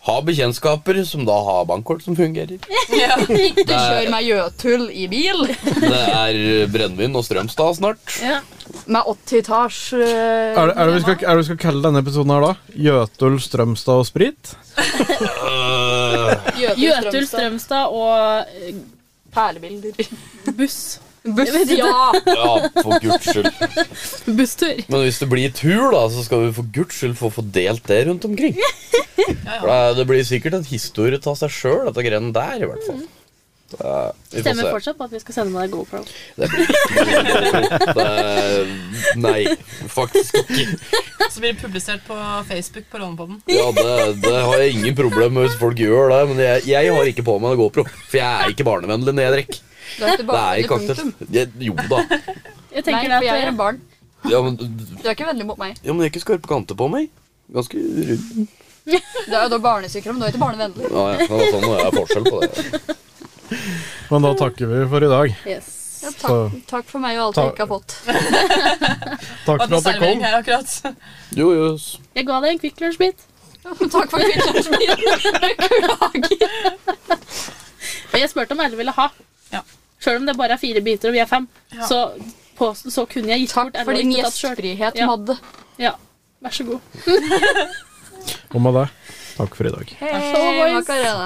S1: ha bekjentskaper som da har bankkort som
S4: [LAUGHS]
S1: fungerer.
S6: Ikke kjør med gjøtull i bil
S1: Det er brennevin og Strømstad snart.
S4: Ja.
S6: med 80 etasj. eh,
S3: Er det, er, det vi skal, er det vi skal kalle denne episoden her, da? Jøtul, Strømstad og sprit?
S1: Eh,
S4: Jøtul, Strømstad og eh,
S6: Perlebilder.
S4: buss.
S6: Buss, ja.
S1: Ja, for guds skyld.
S4: Busstur.
S1: Men hvis det blir tur, da, så skal vi for guds skyld få fordelt det rundt omkring. For det- Det blir sikkert en historie av seg sjøl, dette greiene der, i hvert fall. Det- vi får
S4: Stemmer
S1: se.
S4: fortsatt på at vi skal sende med deg GoPro.
S1: Det blir ikke det, Nei, faktisk ikke.
S5: Så blir det publisert på Facebook på Rånepodden.
S1: Ja, det, det har jeg ingen problem med hvis folk gjør det, men jeg, jeg har ikke på meg GoPro. For jeg er ikke barnevennlig når jeg drikker.
S6: Det er ikke
S1: Det er
S6: bare
S1: ikke
S6: punktum.
S1: aktivt. Jeg- Jo da.
S4: Jeg
S6: Nei,
S4: tenker
S6: for jeg
S4: det
S6: er
S4: at
S6: et barn.
S1: Ja, men,
S6: Du er ikke vennlig mot meg.
S1: ja, men jeg er ikke skarpe kanter på meg. Ganske rund.
S6: Du er jo da barnesykker, men du er ikke barnevennlig.
S1: Ja, ja, det var sånn, det er forskjell på det.
S3: Men da takker vi for i dag.
S4: Yes.
S6: Ja, takk,
S3: Så-
S6: takk for meg og alt jeg
S3: Takk.
S6: ikke har fått. [LAUGHS]
S3: Takk for
S5: Og det er
S3: at du kom.
S5: servering her akkurat.
S1: Jo, jøss.
S4: Jeg ga deg en Kvikk Lunsj-bit.
S6: Takk for kvinnene
S4: [LAUGHS]
S6: Beklager.
S4: Og jeg spurte om alle ville ha.
S5: Ja.
S4: Sjøl om det bare er fire biter og vi er fem,
S5: Ja.
S4: så, på, så kunne jeg gitt bort
S6: Takk for
S4: alle og
S6: din
S4: ikke tatt selv.
S6: gjestfrihet,
S4: Ja.
S6: Madde.
S4: Ja. Vær så god.
S3: Og med det, takk for i dag.
S6: Hei,
S4: så boys.
S6: Macarena.